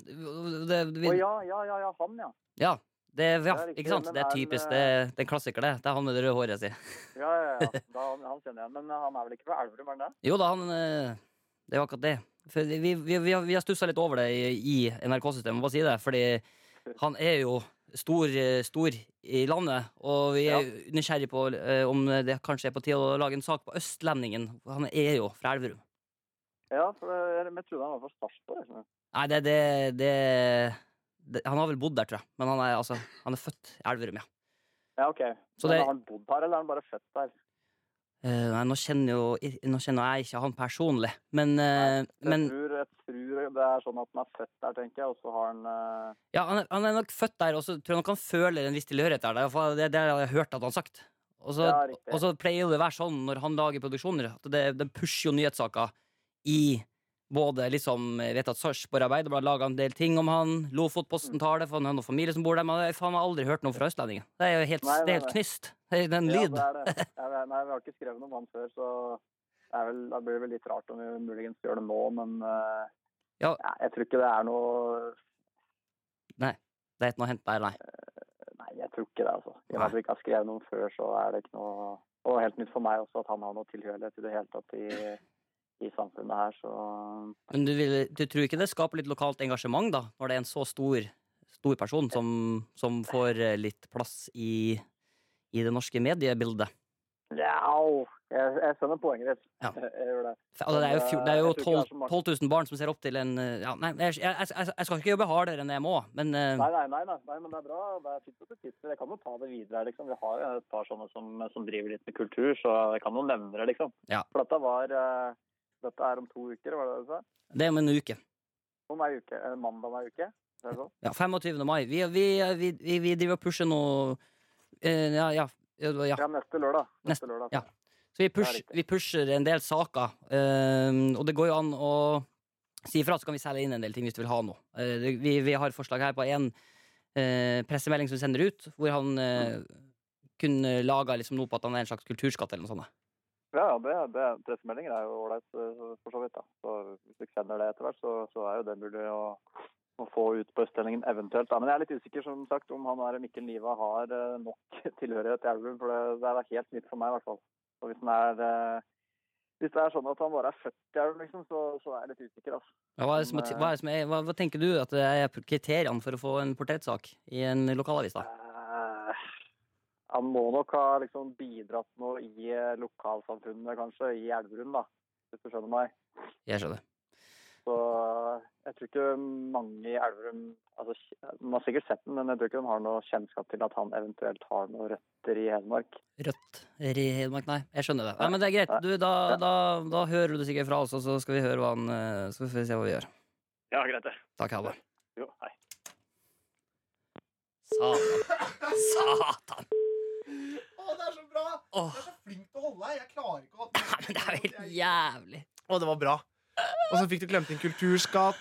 Speaker 3: Å
Speaker 2: vi,
Speaker 3: ja, ja, ja, ja, han, ja.
Speaker 2: Ja. Det, er- ja,
Speaker 3: Det er riktig,
Speaker 2: ikke sant?
Speaker 3: men
Speaker 2: Det er
Speaker 3: han,
Speaker 2: typisk.
Speaker 3: eh,
Speaker 2: Det, det er en klassiker, det. Det er han med det røde håret sitt.
Speaker 3: Ja, ja, ja. Da, han, han kjenner jeg. Men eh, han er vel ikke fra Elverum, er han det?
Speaker 2: Jo da, han eh, Det er jo akkurat det. For vi, vi, vi har, vi har stussa litt over det i, i NRK-systemet, bare si det. Fordi han er jo stor, eh, stor i landet, og vi er nysgjerrig på eh, om det kanskje er på tide å lage en sak på Østlendingen. Han er jo fra Elverum.
Speaker 3: Ja, for eh, jeg trodde han var fra Sarpsborg. liksom.
Speaker 2: Nei, det, det, det, det Han har vel bodd der, tror jeg. Men han er, altså, han er født i Elverum, ja.
Speaker 3: Ja, OK.
Speaker 2: Så
Speaker 3: Men
Speaker 2: det-
Speaker 3: Har han bodd her, eller er han bare født der?
Speaker 2: Eh, nei, nå kjenner, jo, nå kjenner jeg ikke han personlig, men, eh,
Speaker 3: Jeg,
Speaker 2: men
Speaker 3: tror, jeg tror det er sånn at han er født der, tenker jeg, og så har han eh,
Speaker 2: ja, han, er, han er nok født der, og så tror jeg nok han føler en viss tilhørighet der. Det, er i hvert fall det, det har jeg hørt at han har sagt. Og så,
Speaker 3: Ja, riktig.
Speaker 2: og så pleier det å være sånn når han lager produksjoner, at det, det pusher jo nyhetssaker i både liksom, jeg vet at Sarpsborg Arbeiderblad lager en del ting om han, Lofotposten tar det, for han har noen familie som bor der, men jeg faen, jeg har aldri hørt noe fra østlendingen. Det er jo helt,
Speaker 3: Nei, nei,
Speaker 2: det er helt
Speaker 3: nei.
Speaker 2: knist. Det er en
Speaker 3: Ja,
Speaker 2: lyd.
Speaker 3: det er det. Jeg vet- nei, vi har ikke skrevet noe om han før, så det, er vel, det blir vel litt rart om vi muligens gjør det nå, men eh,
Speaker 2: Ja.
Speaker 3: nei, jeg tror ikke det er noe
Speaker 2: Det er ikke noe å hente der, nei.
Speaker 3: Nei, jeg tror ikke det, altså. I og med at vi ikke har skrevet noe om før, så er det ikke noe Og helt nytt for meg også at han har noe tilhørighet i det hele tatt i, i samfunnet her, så
Speaker 2: Men du, vil, du tror ikke det skaper litt lokalt engasjement, da? Når det er en så stor, stor person som, som får eh, litt plass i, i det norske mediebildet?
Speaker 3: Njau! Jeg, jeg skjønner poenget ditt.
Speaker 2: Ja.
Speaker 3: <laughs> Jeg gjør det.
Speaker 2: For, Altså, det er jo, fjor- det er jo
Speaker 3: Jeg tror ikke det er
Speaker 2: 12,
Speaker 3: så mange.
Speaker 2: 12 000 barn som ser opp til en eh, ja, Nei, jeg, jeg, jeg, jeg skal ikke jobbe hardere enn jeg må, men eh,
Speaker 3: Nei, nei, nei, nei, nei, men det er bra. Det er fint at du tipser. Jeg kan jo ta det videre. liksom. Vi har jo et par sånne som, som driver litt med kultur, så jeg kan jo nevne det, liksom.
Speaker 2: Ja.
Speaker 3: For dette var eh, Dette er om to uker, var det det du sa?
Speaker 2: det er om en uke.
Speaker 3: Om ei uke. eh, Mandag om ei uke. Er Det sånn?
Speaker 2: Ja, 25. mai. Vi, vi, vi, vi, vi driver og pusher noe eh, Ja, ja. ja, ja.
Speaker 3: Ja, neste lørdag. Neste lørdag.
Speaker 2: ja. Så vi, push,
Speaker 3: Det er riktig.
Speaker 2: vi pusher en del saker, eh, og det går jo an å si ifra, så kan vi selge inn en del ting hvis du vil ha noe. Eh, det- vi, vi har forslag her på én pressemelding som vi sender ut, hvor han eh, kunne laga liksom noe på at han er en slags kulturskatt eller noe sånt.
Speaker 3: Ja, ja, det, det, pressemeldinger er jo ålreit, eh, for så vidt. da. Så Hvis du kjenner det etter hvert, så, så er jo det mulig å, å få ut på Østlendingen eventuelt. da. Men jeg er litt usikker som sagt, om han der Mikkel Niva har eh, nok <laughs> tilhørighet til Elverum. For det, det er helt nytt for meg, i hvert fall. Og hvis, han er, eh, hvis det er sånn at han bare er født i Elverum, liksom, så, så er jeg litt usikker. altså.
Speaker 2: Ja, hva, er det som, er ti- hva, er det som er, hva, hva tenker du at det er kriteriene for å få en portrettsak i en lokalavis? da?
Speaker 3: Eh, Han må nok ha liksom bidratt noe i eh, lokalsamfunnet, kanskje, i Elverum, da, hvis du skjønner meg.
Speaker 2: Jeg skjønner.
Speaker 3: Så jeg tror ikke mange i Elverum altså, kj- Man har sikkert sett den, men jeg tror ikke de har noe kjennskap til at han eventuelt har noen røtter i Hedmark.
Speaker 2: Rødt i Hedmark, nei. Jeg skjønner det. Nei, men det er greit. Du, da,
Speaker 3: Ja.
Speaker 2: da, da hører du sikkert fra oss, og så skal vi høre hva han eh, Så får vi se hva vi gjør.
Speaker 3: Ja, greit det.
Speaker 2: Takk, ha det.
Speaker 3: Jo, hei.
Speaker 2: Satan. Satan!
Speaker 1: Å, det er så bra!
Speaker 2: Åh,
Speaker 1: så flink til å holde deg. Jeg klarer ikke å
Speaker 2: men det er jo helt jævlig.
Speaker 1: Å, det var bra. Og så fikk du glemt inn kulturskatt.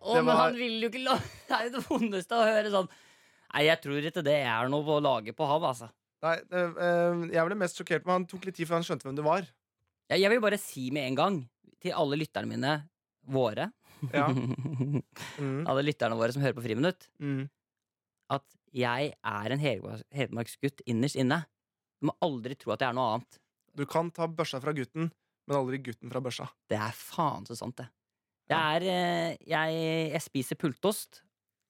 Speaker 2: Å,
Speaker 1: Det
Speaker 2: men
Speaker 1: var-
Speaker 2: han vil jo ikke la <laughs> Det er jo det vondeste å høre sånn. Nei, jeg tror ikke det er noe på laget på havet, altså.
Speaker 1: Nei, øh, øh, jeg ble mest sjokkert, men han tok litt tid før han skjønte hvem du var.
Speaker 2: Jeg, jeg vil bare si med en gang til alle lytterne mine, våre <laughs>
Speaker 1: Ja. Mm.
Speaker 2: Alle lytterne våre som hører på Friminutt,
Speaker 1: Mm.
Speaker 2: at jeg er en hedmarks- hedmarksgutt innerst inne. Du må aldri tro at jeg er noe annet.
Speaker 1: Du kan ta børsa fra gutten, men aldri gutten fra børsa.
Speaker 2: Det er faen så sant, det. Jeg, er, eh, jeg, jeg spiser pultost,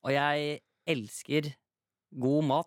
Speaker 2: og jeg elsker god mat.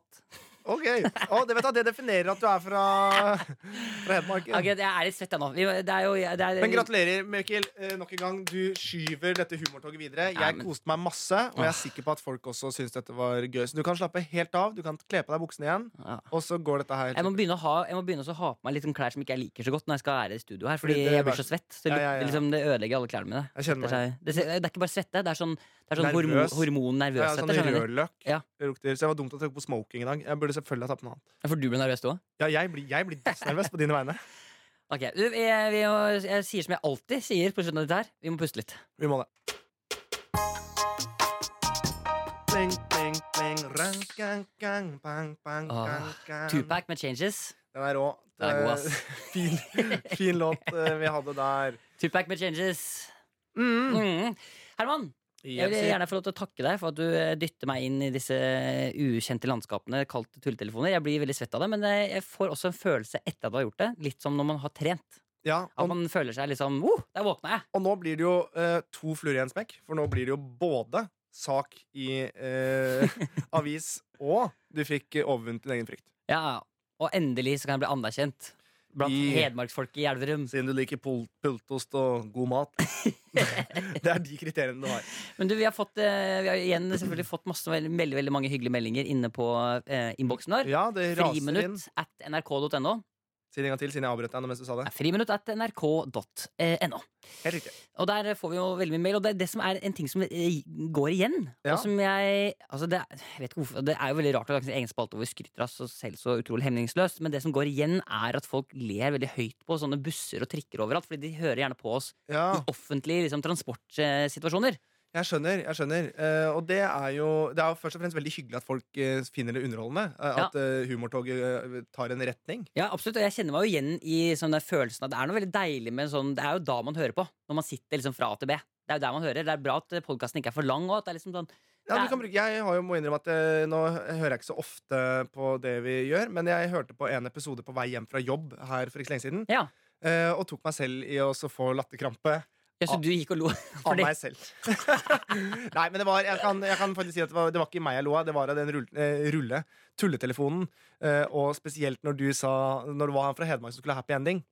Speaker 1: Ok, Å, det, vet jeg, det definerer at du er fra, fra Hedmark.
Speaker 2: Ok, jeg er litt svetta nå. Vi, må- det er jo, det er,
Speaker 1: Men gratulerer, Mikkel. Eh, Nok en gang, du skyver dette humortoget videre. Jeg
Speaker 2: Ja, men-
Speaker 1: koste meg masse, og jeg er sikker på at folk også syns dette var gøy. Så du kan slappe helt av. Du kan kle på deg buksene igjen,
Speaker 2: Ja.
Speaker 1: og så går dette her.
Speaker 2: Jeg må begynne å ha, jeg må begynne også å ha på meg litt sånn klær som ikke jeg liker så godt når jeg skal være i studio her. Fordi
Speaker 1: Fordi det
Speaker 2: jeg blir
Speaker 1: bare-
Speaker 2: så svett. Så
Speaker 1: Ja,
Speaker 2: det,
Speaker 1: ja, ja.
Speaker 2: lukter liksom, det ødelegger alle klærne mine.
Speaker 1: Jeg kjenner
Speaker 2: Det,
Speaker 1: meg.
Speaker 2: er- det, er ikke bare svette, det er sånn, det er sånn hormon,
Speaker 1: Nervøs. Ja,
Speaker 2: hormonnervøshet.
Speaker 1: sånn
Speaker 2: jeg skjønner.
Speaker 1: rødløk.
Speaker 2: Ja.
Speaker 1: Det lukter. Så jeg var dumt å trekke på smoking i dag. Jeg burde selvfølgelig ha tatt på noe annet.
Speaker 2: Ja, For du ble nervøs du òg?
Speaker 1: Ja, jeg blir, jeg blir dødsnervøs på dine vegne.
Speaker 2: Ok, du, jeg, vi må, jeg sier som jeg alltid sier på slutten av dette her. Vi må puste litt.
Speaker 1: Vi må det. Pling, pling, pling. Rang, gang, gang, bang, bang,
Speaker 2: Åh,
Speaker 1: gang, gang.
Speaker 2: Tupac med Changes.
Speaker 1: Den er rå.
Speaker 2: Den er god,
Speaker 1: Eh, <laughs>
Speaker 2: ass.
Speaker 1: fin, fin låt eh, vi hadde der.
Speaker 2: Tupac med Changes.
Speaker 1: Mm.
Speaker 2: Mm. Herman, jeg vil
Speaker 1: Jepsi.
Speaker 2: gjerne få lov til å takke deg for at du eh, dytter meg inn i disse eh, ukjente landskapene kalt tulletelefoner. Jeg blir veldig svett av det, men eh, jeg får også en følelse etter at du har gjort det. Litt som når man har trent.
Speaker 1: Ja,
Speaker 2: At
Speaker 1: og,
Speaker 2: man føler seg liksom oh, Der våkna jeg!
Speaker 1: og nå blir det jo eh, to fluer i en smekk, for nå blir det jo både sak i eh,
Speaker 2: <laughs>
Speaker 1: avis, og du fikk eh, overvunnet din egen frykt.
Speaker 2: Ja, Og endelig så kan jeg bli anerkjelent blant
Speaker 1: I-
Speaker 2: hedmarksfolket i Elverum.
Speaker 1: Siden du liker pul pultost og god
Speaker 2: <laughs>
Speaker 1: mat. det er de kriteriene du har.
Speaker 2: Men du, vi har, fått, eh, vi har igjen selvfølgelig fått masse, veldig, veldig, veldig mange hyggelige meldinger inne på eh, innboksen vår.
Speaker 1: Ja, det raser inn.
Speaker 2: Friminutt at nrk.no.
Speaker 1: Si det en gang til, siden jeg avbrøt deg nå mens du sa det.
Speaker 2: Nei, Friminutt at nrk.no.
Speaker 1: Helt riktig.
Speaker 2: Og der får vi jo veldig mye mail, og det er det som er en ting som eh, går igjen.
Speaker 1: Ja.
Speaker 2: Og som jeg, altså det, er- jeg vet ikke hvorfor, det er jo veldig rart å lage sin egen spalte hvor vi skryter av oss selv så utrolig hemningsløst, men det som går igjen, er at folk ler veldig høyt på sånne busser og trikker overalt, fordi de hører gjerne på oss
Speaker 1: Ja,
Speaker 2: i offentlige liksom, transportsituasjoner.
Speaker 1: jeg skjønner. jeg skjønner Eh, Og det er jo det er jo først og fremst veldig hyggelig at folk eh, finner det underholdende. eh,
Speaker 2: Ja.
Speaker 1: At eh, humortoget eh, tar en retning.
Speaker 2: Ja, absolutt, og jeg kjenner meg jo igjen i sånn den følelsen at det er noe veldig deilig med en sånn Det er jo da man hører på, når man sitter liksom fra A til B. Det er jo der man hører. Det er bra at podkasten ikke er for lang. Og at det er liksom sånn
Speaker 1: Ja,
Speaker 2: Ja.
Speaker 1: du kan bruke, jeg har jo må innrømme at eh, Nå hører jeg ikke så ofte på det vi gjør, men jeg hørte på en episode på vei hjem fra jobb her for ikke så lenge siden.
Speaker 2: Ja.
Speaker 1: eh, Og tok meg selv i å så få
Speaker 2: <laughs>
Speaker 1: latterkrampe.
Speaker 2: Ja, så
Speaker 1: Ah.
Speaker 2: du gikk og lo.
Speaker 1: Av
Speaker 2: Fordi-
Speaker 1: meg selv. <laughs> Nei, men det var, jeg, kan, jeg kan faktisk si at det var, det var ikke meg jeg lo av, det var av den rull, eh, rulle, tulletelefonen. Eh, og spesielt når du sa Når det var han fra Hedmark som skulle ha happy ending,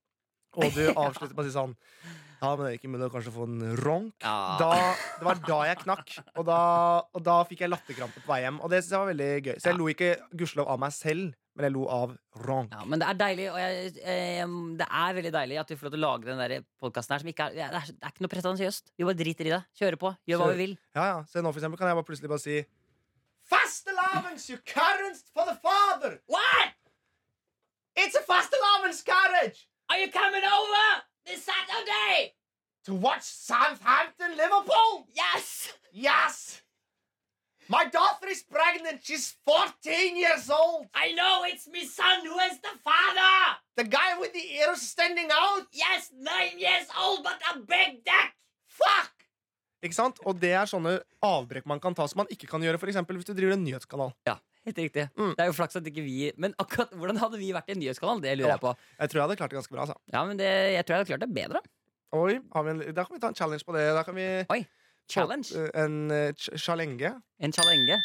Speaker 1: og
Speaker 2: <laughs>
Speaker 1: du avsluttet med å si sånn Ja, men det er ikke mulig å kanskje få en ronk.
Speaker 2: Ja.
Speaker 1: Da, det var da jeg knakk, og da, og da fikk jeg latterkrampe på vei hjem. Og det synes jeg var veldig gøy. Så jeg lo ikke gudskjelov av meg selv, men jeg lo av ronk.
Speaker 2: Ja, men det er deilig, og jeg, eh, det er veldig deilig at vi får lov til å lage den der podkasten her som ikke er det, er det er ikke noe pretensiøst. Vi bare driter i det. Kjører på. Gjør hva
Speaker 1: Kjør.
Speaker 2: vi vil.
Speaker 1: Ja, ja. Så nå for eksempel kan jeg bare plutselig bare si Fastelavns, you currents for the father!
Speaker 2: What?
Speaker 1: It's a fastelavns carriage!
Speaker 2: Are you coming over this Saturday?
Speaker 1: to watch Southampton Liverpool?
Speaker 2: Yes!
Speaker 1: Yes! My daughter is pregnant. She's 14 years old.
Speaker 2: I know it's my son who is the father!
Speaker 1: The guy with the ears standing out.
Speaker 2: Yes, nine years old, but a big dick!
Speaker 1: Fuck! Ikke sant? Og det er sånne avbrekk man kan ta som man ikke kan gjøre for eksempel, hvis du driver en nyhetskanal.
Speaker 2: Ja, helt riktig.
Speaker 1: Mm.
Speaker 2: Det er jo flaks at ikke vi Men akkurat hvordan hadde vi vært i en nyhetskanal? Det lurer
Speaker 1: Ja.
Speaker 2: jeg på.
Speaker 1: Jeg tror jeg hadde klart det ganske bra. Altså.
Speaker 2: Ja, men det, Jeg tror jeg hadde klart det bedre.
Speaker 1: Oi, har vi en, da kan vi ta en challenge på det. Da kan vi
Speaker 2: Oi, Challenge.
Speaker 1: Eh, En eh, ch- challenge.
Speaker 2: En challenge.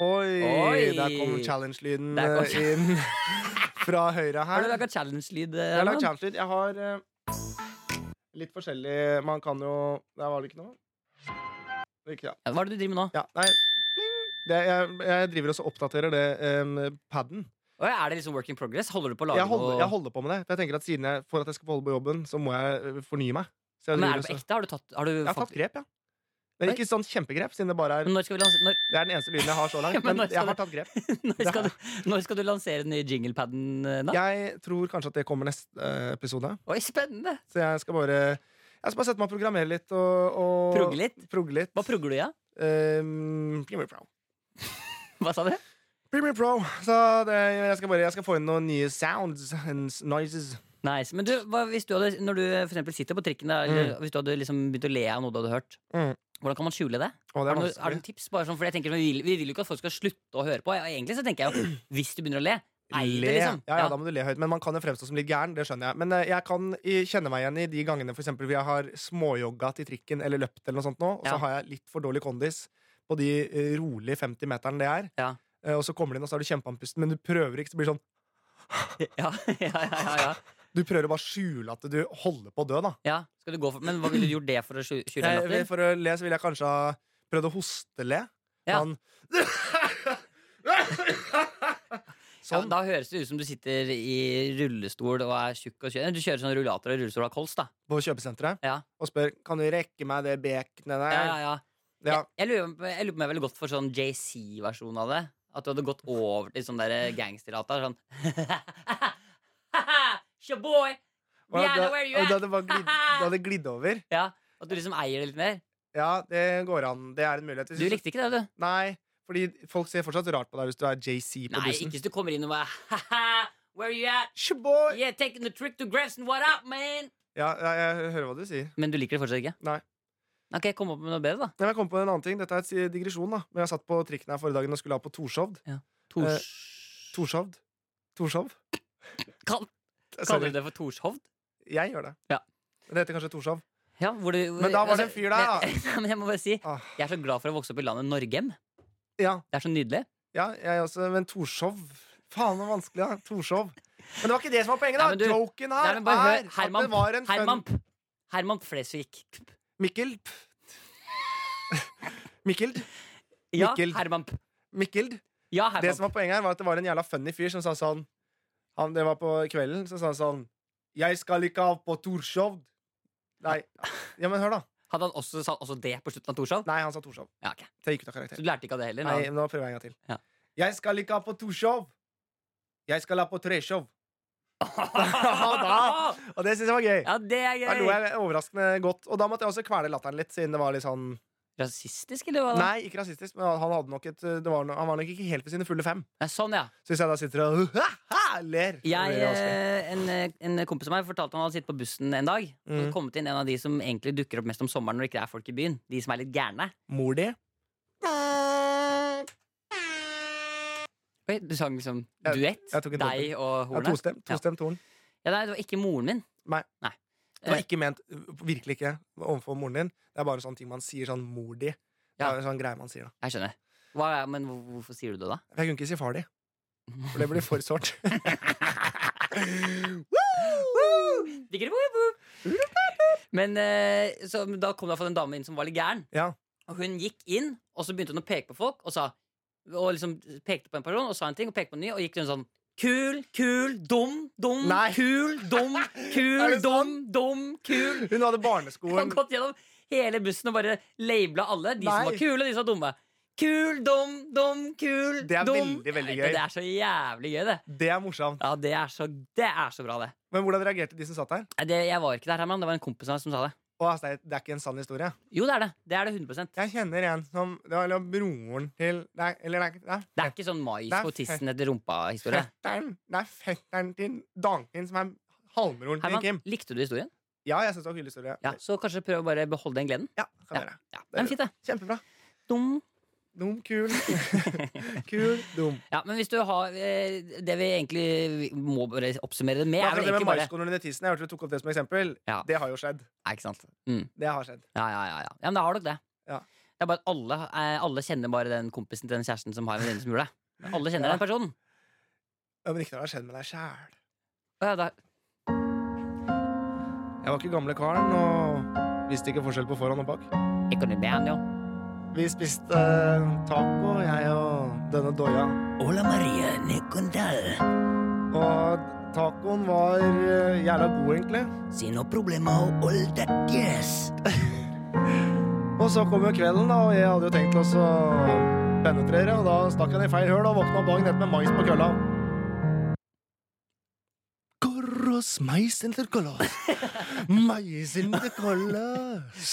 Speaker 1: Oi,
Speaker 2: Oi.
Speaker 1: der kom challenge-lyden
Speaker 2: Der kom
Speaker 1: eh,
Speaker 2: <laughs>
Speaker 1: inn fra høyre her.
Speaker 2: Har du laga challenge-lyd?
Speaker 1: Jeg har
Speaker 2: Herman?
Speaker 1: lagd challenge-lyd. Jeg har eh, litt forskjellig Man kan jo Der var det ikke noe. Det gikk, ja.
Speaker 2: Ja, Hva er det du driver med nå?
Speaker 1: ja. Nei. Pling. Det, jeg, jeg driver også og oppdaterer det em, paden.
Speaker 2: Oi, er det liksom work in progress? Holder du på å lage
Speaker 1: Jeg holder,
Speaker 2: noe
Speaker 1: jeg holder på med det. For jeg tenker at siden jeg, For at jeg skal få holde på jobben, så må jeg eh, fornye meg. Så jeg,
Speaker 2: Men
Speaker 1: driver
Speaker 2: er det på
Speaker 1: også-
Speaker 2: ekte? Har du tatt, har du
Speaker 1: jeg har
Speaker 2: fått-
Speaker 1: tatt grep, ja. Men ikke sånn kjempegrep, siden det bare er
Speaker 2: Men når skal, vi lansere, når, <laughs>
Speaker 1: Det er den eneste lyden jeg har så langt.
Speaker 2: Mm. Ja,
Speaker 1: Men
Speaker 2: men nå skal
Speaker 1: jeg har
Speaker 2: du-
Speaker 1: tatt grep.
Speaker 2: når,
Speaker 1: Det
Speaker 2: skal
Speaker 1: har
Speaker 2: du, når skal du lansere den nye jinglepaden? eh, da?
Speaker 1: Jeg tror kanskje at det kommer neste eh, episode.
Speaker 2: Oi, spennende!
Speaker 1: Så jeg skal bare Jeg skal bare sette meg og programmere litt og, og
Speaker 2: Progge litt?
Speaker 1: Progge litt.
Speaker 2: Hva progger du i? Ja?
Speaker 1: Ehm, Premiere Pro.
Speaker 2: Hva sa du?
Speaker 1: Premiere Pro. Så det, jeg, skal bare, jeg skal få inn noen nye sounds and s- noises.
Speaker 2: Nice. Men du, hva, hvis du hadde, når du for eksempel sitter på trikken, da, eller hvis du hadde liksom begynt å le av noe du hadde hørt,
Speaker 1: Mm.
Speaker 2: hvordan kan man skjule det?
Speaker 1: Å, det
Speaker 2: Er
Speaker 1: er
Speaker 2: det, noe- er det
Speaker 1: vanskelig.
Speaker 2: noen tips? Bare sånn, for jeg tenker, vi, vil, vi vil jo ikke at folk skal slutte å høre på. Og egentlig så tenker jeg jo, hvis du begynner å le, ei det,
Speaker 1: Le.
Speaker 2: liksom.
Speaker 1: Ja, ja, da må du le høyt. Men man kan jo fremstå som litt gæren. Det skjønner jeg. Men eh, jeg kan i- kjenne meg igjen i de gangene for eksempel, hvor jeg har småjogga til trikken eller løpt, eller noe sånt nå, og
Speaker 2: Ja.
Speaker 1: så har jeg litt for dårlig kondis på de eh, rolige 50 meterne det er.
Speaker 2: Ja.
Speaker 1: eh, og så kommer du inn, og så er du kjempeandpusten, men du prøver ikke. Så blir det sånn,
Speaker 2: <laughs> Ja, ja, ja, ja, ja.
Speaker 1: du prøver å bare skjule at du holder på å dø, da.
Speaker 2: ja. Skal du gå for, men hva ville du gjort det for å skju- skjule en
Speaker 1: Jeg,
Speaker 2: latter?
Speaker 1: Eh, for å le så ville jeg kanskje ha prøvd å hostele.
Speaker 2: Ja. <laughs>
Speaker 1: Han
Speaker 2: Ja,
Speaker 1: Sånn.
Speaker 2: da høres det ut som du sitter i rullestol og er tjukk og kjø- Du kjører sånn rullator og rullestol av kols, da.
Speaker 1: på kjøpesenteret
Speaker 2: Ja.
Speaker 1: og spør Kan du rekke meg det bekenet der.
Speaker 2: Ja, ja, ja.
Speaker 1: Ja.
Speaker 2: Jeg, jeg, lurer, på- jeg lurer på om jeg ville gått for sånn JC-versjon av det. At du hadde gått over til sånn der gangsterlata. Sånn <laughs> Shaboy!
Speaker 1: Og
Speaker 2: Yeah,
Speaker 1: da-
Speaker 2: where you
Speaker 1: og
Speaker 2: at?
Speaker 1: da hadde bare glidd- da hadde det glidd over.
Speaker 2: Ja, At du liksom eier det litt mer.
Speaker 1: Ja, det går an. Det er en mulighet. Hvis
Speaker 2: Du likte ikke det, du.
Speaker 1: Nei, fordi folk ser fortsatt rart på deg hvis du er JC på
Speaker 2: Nei,
Speaker 1: bussen.
Speaker 2: ikke hvis du kommer inn og bare Where you at?
Speaker 1: Shaboy!
Speaker 2: Yeah, taking the trip to Grefsen, what up, man?
Speaker 1: Ja, jeg, jeg hører hva du sier.
Speaker 2: Men du liker det fortsatt ikke?
Speaker 1: Nei.
Speaker 2: Ok, kom opp med noe bedre, da.
Speaker 1: Men jeg kom på en annen ting. Dette er et si- digresjon, da. Men jeg satt på trikken her forrige dagen og skulle ha på Torshovd.
Speaker 2: Tors... Eh,
Speaker 1: Torshovd? Torshov?
Speaker 2: Kall- Kaller
Speaker 1: Eh, Sorry.
Speaker 2: du det for Torshov?
Speaker 1: Jeg gjør det.
Speaker 2: Ja.
Speaker 1: Men det heter kanskje Torshov.
Speaker 2: Ja, hvor du,
Speaker 1: Men da var det en fyr der,
Speaker 2: <laughs>
Speaker 1: da.
Speaker 2: Men, men jeg må bare si,
Speaker 1: Ah.
Speaker 2: jeg er så glad for å vokse opp i landet Norgem.
Speaker 1: Ja,
Speaker 2: Det er så nydelig.
Speaker 1: ja, jeg også. Men Torshov Faen, så vanskelig, da. Torshov. Men det var ikke det som var poenget, da.
Speaker 2: Nei, men du-
Speaker 1: Joken
Speaker 2: Nei,
Speaker 1: her
Speaker 2: men bare
Speaker 1: er
Speaker 2: hør,
Speaker 1: at
Speaker 2: Herman,
Speaker 1: det var en
Speaker 2: Herman,
Speaker 1: fun
Speaker 2: P- Herman Flesvig.
Speaker 1: Mikkel. Mikkeld.
Speaker 2: Ja,
Speaker 1: Mikkel.
Speaker 2: Herman. P-
Speaker 1: Mikkeld.
Speaker 2: Ja,
Speaker 1: Det
Speaker 2: Herman.
Speaker 1: som var poenget her, var at det var en jævla funny fyr som sa sånn han, Det var på kvelden, så sa han sånn Jeg skal ikke av på Torshov. Nei. Ja, men hør, da.
Speaker 2: Hadde han også, sa han også det på slutten av Torshov?
Speaker 1: Nei, han sa Torshov.
Speaker 2: Ja, ok.
Speaker 1: Det gikk ut av
Speaker 2: Så
Speaker 1: karakter.
Speaker 2: du lærte ikke av det heller?
Speaker 1: Nei,
Speaker 2: <laughs> da?
Speaker 1: nå prøver jeg en gang til.
Speaker 2: Ja.
Speaker 1: Jeg skal ikke ha på Torshov. Jeg skal ha på Treshov. da. Og det syns jeg var gøy.
Speaker 2: Ja, det er
Speaker 1: Da lo
Speaker 2: gøy!
Speaker 1: jeg overraskende godt. Og da måtte jeg også kvele latteren litt, siden det var litt sånn
Speaker 2: Rasistisk, eller hva? da?
Speaker 1: Nei, ikke rasistisk, men han hadde nok et det var, no- Han var nok ikke helt ved sine fulle fem.
Speaker 2: Nei, sånn, ja.
Speaker 1: Så hvis jeg da sitter og <laughs> ler så
Speaker 2: Jeg,
Speaker 1: blir det vanskelig.
Speaker 2: eh, en, eh, en kompis av meg fortalte han hadde sittet på bussen en dag. Og det
Speaker 1: Mm.
Speaker 2: kommet inn en av de som egentlig dukker opp mest om sommeren når det ikke er folk i byen. De som er litt gærne.
Speaker 1: Mor di?
Speaker 2: Oi, du sang liksom
Speaker 1: Jeg-
Speaker 2: duett?
Speaker 1: jeg tok en dobbel.
Speaker 2: deg og
Speaker 1: Ja,
Speaker 2: hornet?
Speaker 1: tostemt. Tostemt horn.
Speaker 2: Ja, nei, det var ikke moren min.
Speaker 1: Det
Speaker 2: Eh.
Speaker 1: var ikke ment uh, virkelig ikke overfor moren din. Det er bare sånne ting man sier sånn mor di. Det
Speaker 2: Ja.
Speaker 1: er en sånn greie man sier da.
Speaker 2: Jeg skjønner. Hva, er- men hvor- hvorfor sier du det, da?
Speaker 1: Jeg kunne ikke si far di. For det blir
Speaker 2: <laughs>
Speaker 1: for sårt.
Speaker 2: Digger det, woo, woo. Men eh, så, men da kom det iallfall en dame inn som var litt gæren.
Speaker 1: Ja.
Speaker 2: Og hun gikk inn, og så begynte hun å peke på folk, og sa Og liksom pekte på en person, og sa en ting, og pekte på en ny, og gikk hun sånn Kul, kul, dum, dum,
Speaker 1: Nei.
Speaker 2: kul, dum,
Speaker 1: <laughs> Er
Speaker 2: kul,
Speaker 1: det
Speaker 2: dum, dum, kul.
Speaker 1: Hun hadde
Speaker 2: Han
Speaker 1: barneskoen.
Speaker 2: gått gjennom hele bussen og bare labla alle. De som
Speaker 1: Nei.
Speaker 2: var kule, og de som var dumme. Kul, dum, dum, kul,
Speaker 1: Det er veldig,
Speaker 2: dum.
Speaker 1: veldig
Speaker 2: Jeg vet det,
Speaker 1: gøy.
Speaker 2: Det er så jævlig gøy, det.
Speaker 1: Det er morsomt.
Speaker 2: Ja, det er så, det er så bra, det.
Speaker 1: Men hvordan reagerte de som satt der?
Speaker 2: Nei, det. Jeg var ikke der, Herman. Det var en kompis av meg som sa det.
Speaker 1: Å, altså, det er- det er ikke en sann historie.
Speaker 2: Jo, det er det. Det er det 100
Speaker 1: Jeg kjenner en som Det var eller broren til det er, Eller det er, det
Speaker 2: Det er ikke sånn mais
Speaker 1: Det er
Speaker 2: på tissen etter rumpa-historie.
Speaker 1: er fetteren Det er fetteren til dagen din som er halvbroren til
Speaker 2: Herman,
Speaker 1: Kim.
Speaker 2: likte du historien?
Speaker 1: Ja, jeg syns det var en kul historie.
Speaker 2: Ja, Så kanskje prøv å bare beholde den gleden?
Speaker 1: Ja, kan
Speaker 2: Ja.
Speaker 1: gjøre det.
Speaker 2: Ja, men fint, det.
Speaker 1: Kjempebra.
Speaker 2: Dum.
Speaker 1: Dum,
Speaker 2: <laughs>
Speaker 1: kul. kul, dum.
Speaker 2: Ja, men hvis du har eh, Det vi egentlig må bare oppsummere det med,
Speaker 1: Men
Speaker 2: er vel
Speaker 1: akkurat det med
Speaker 2: egentlig bare
Speaker 1: maiskolen under tissen, jeg hørte du tok opp det som eksempel.
Speaker 2: Ja.
Speaker 1: Det har jo skjedd.
Speaker 2: Nei, ikke sant? Mm.
Speaker 1: Det har skjedd.
Speaker 2: Ja, ja, ja, ja. ja men da har dere det.
Speaker 1: Ja.
Speaker 2: Det er bare at alle, eh, alle kjenner bare den kompisen til den kjæresten som har en venninne som gjorde det. Alle kjenner
Speaker 1: Ja.
Speaker 2: den personen.
Speaker 1: Ja, men ikke når det har skjedd med deg sjæl.
Speaker 2: Å, ja, da.
Speaker 1: Jeg var ikke gamle karen og visste ikke forskjell på foran og bak.
Speaker 2: Ekonomi er han jo.
Speaker 1: Vi spiste taco, jeg og denne doia.
Speaker 2: Ola Marie Nekondal.
Speaker 1: Og tacoen var eh, jævla god, egentlig.
Speaker 2: Si no problema all that yes.
Speaker 1: Og så kom jo kvelden, da, og jeg hadde jo tenkt til å så penetrere, og da stakk han i feil høl og våkna dagen etter med mais på kølla. Korros mais inter kollos. Mais inter kollos.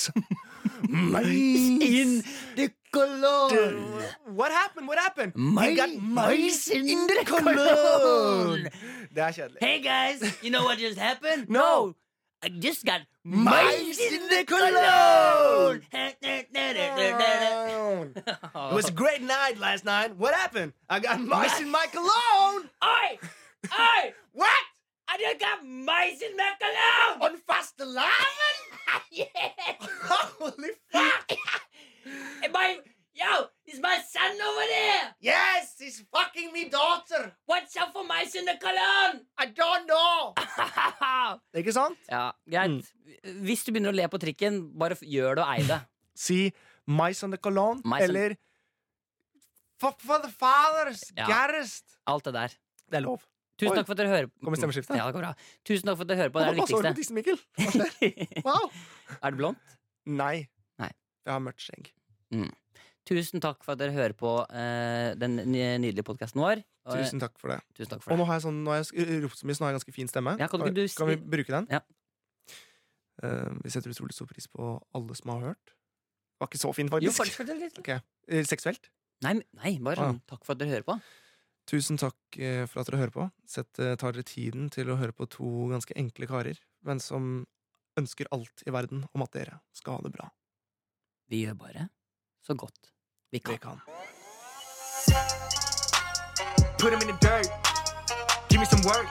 Speaker 1: Mais
Speaker 2: In the color.
Speaker 1: What happened? What happened?
Speaker 2: Mais-
Speaker 1: He got
Speaker 2: mais in the cologne.
Speaker 1: cologne. Det er kjedelig.
Speaker 2: <laughs> Hey guys, you know what just happened?
Speaker 1: No.
Speaker 2: I just got
Speaker 1: Mice
Speaker 2: mice in the cologne.
Speaker 1: <laughs>
Speaker 2: <laughs> Oh.
Speaker 1: It was a great night last night. What happened? I got mice in my cologne.
Speaker 2: Oi!
Speaker 4: <laughs>
Speaker 2: Oi!
Speaker 1: What?
Speaker 2: I just got mice in my cologne!
Speaker 1: On fast
Speaker 2: <laughs>
Speaker 1: alarm?
Speaker 2: Yeah. <laughs>
Speaker 1: Holy fuck!
Speaker 2: My Yo, is my son over there?
Speaker 4: Yes, it's fucking me daughter.
Speaker 2: Watch out for mice in the cologne!
Speaker 4: I don't
Speaker 2: <laughs>
Speaker 4: know.
Speaker 1: Ikke sant?
Speaker 2: ja, greit.
Speaker 1: Mm.
Speaker 2: Hvis du begynner å le på trikken, bare f- gjør det og ei det.
Speaker 1: Si Mais on the Cologne
Speaker 2: Mais on-
Speaker 1: eller
Speaker 4: Fuck for the fathers,
Speaker 2: Ja.
Speaker 4: Garrest.
Speaker 2: Alt det der.
Speaker 1: Det er lov.
Speaker 2: Tusen
Speaker 1: Oi.
Speaker 2: takk for at dere hører
Speaker 1: Kommer stemmeskiftet?
Speaker 2: Ja, det går bra. Tusen takk for at dere hører på. Det er
Speaker 1: Hva
Speaker 2: det
Speaker 1: passer over på
Speaker 2: viktigste.
Speaker 1: tissen, Mikkel? Hva
Speaker 2: <laughs>
Speaker 1: skjer? Wow.
Speaker 2: Er det blondt?
Speaker 1: Nei.
Speaker 2: Nei.
Speaker 1: Jeg har mørkt skjegg.
Speaker 2: Tusen takk for at dere hører på eh, den ny- nydelige podkasten vår. Og, eh,
Speaker 1: Tusen takk for det.
Speaker 2: tusen takk
Speaker 1: Og
Speaker 2: for det.
Speaker 1: nå har jeg sånn, nå har jeg sk- ropt så mye, så nå har jeg ganske fin stemme.
Speaker 2: Ja, kan ikke du
Speaker 1: kan vi
Speaker 2: si-
Speaker 1: bruke den?
Speaker 2: Ja.
Speaker 1: Eh, vi setter utrolig stor pris på alle som har hørt. Var ikke så fin,
Speaker 2: Jo,
Speaker 1: faktisk.
Speaker 2: faktisk, fortell litt.
Speaker 1: Eh, seksuelt.
Speaker 2: Nei, men- nei, bare
Speaker 1: Ah.
Speaker 2: sånn takk for at dere hører på.
Speaker 1: Tusen takk eh, for at dere hører på. Sett, eh, tar dere tiden til å høre på to ganske enkle karer, men som ønsker alt i verden om at dere skal ha det bra.
Speaker 2: Vi gjør bare så godt vi kan.
Speaker 1: Det kan.
Speaker 4: Put him in the dirt. Give me some work.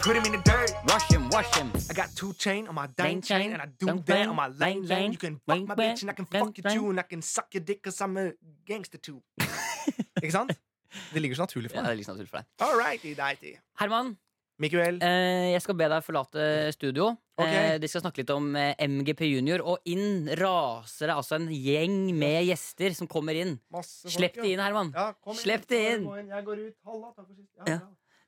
Speaker 4: Put him in the dirt.
Speaker 2: Wash him, wash him.
Speaker 1: I got two chain on my
Speaker 2: Lane
Speaker 1: dang
Speaker 2: chain,
Speaker 1: chain, and I do
Speaker 2: dang
Speaker 1: that
Speaker 2: bang,
Speaker 1: on my
Speaker 2: bang,
Speaker 1: lane
Speaker 2: bang,
Speaker 1: lane. You can fuck
Speaker 2: bang,
Speaker 1: my
Speaker 2: bang,
Speaker 1: bitch, and I can
Speaker 2: bang,
Speaker 1: fuck you
Speaker 2: bang.
Speaker 1: too, and I can suck your dick, cause I'm a gangster
Speaker 2: <laughs>
Speaker 1: too. Ikke sant? Det ligger så naturlig for
Speaker 2: Ja, det
Speaker 1: meg.
Speaker 2: er litt naturlig for deg.
Speaker 1: All righty, dighty.
Speaker 2: Herman,
Speaker 1: Mikael,
Speaker 2: eh, jeg skal be deg forlate studio.
Speaker 1: Ok.
Speaker 2: Eh, de skal snakke litt om eh, MGP Junior, og inn raser det altså en gjeng med gjester som kommer inn.
Speaker 1: masse folk,
Speaker 2: Slipp
Speaker 1: ja.
Speaker 2: de inn, Herman.
Speaker 1: Ja, kom inn.
Speaker 2: Slipp det inn.
Speaker 1: Gå Jeg går ut. Halla, takk for sist.
Speaker 2: Ja.
Speaker 1: Ja,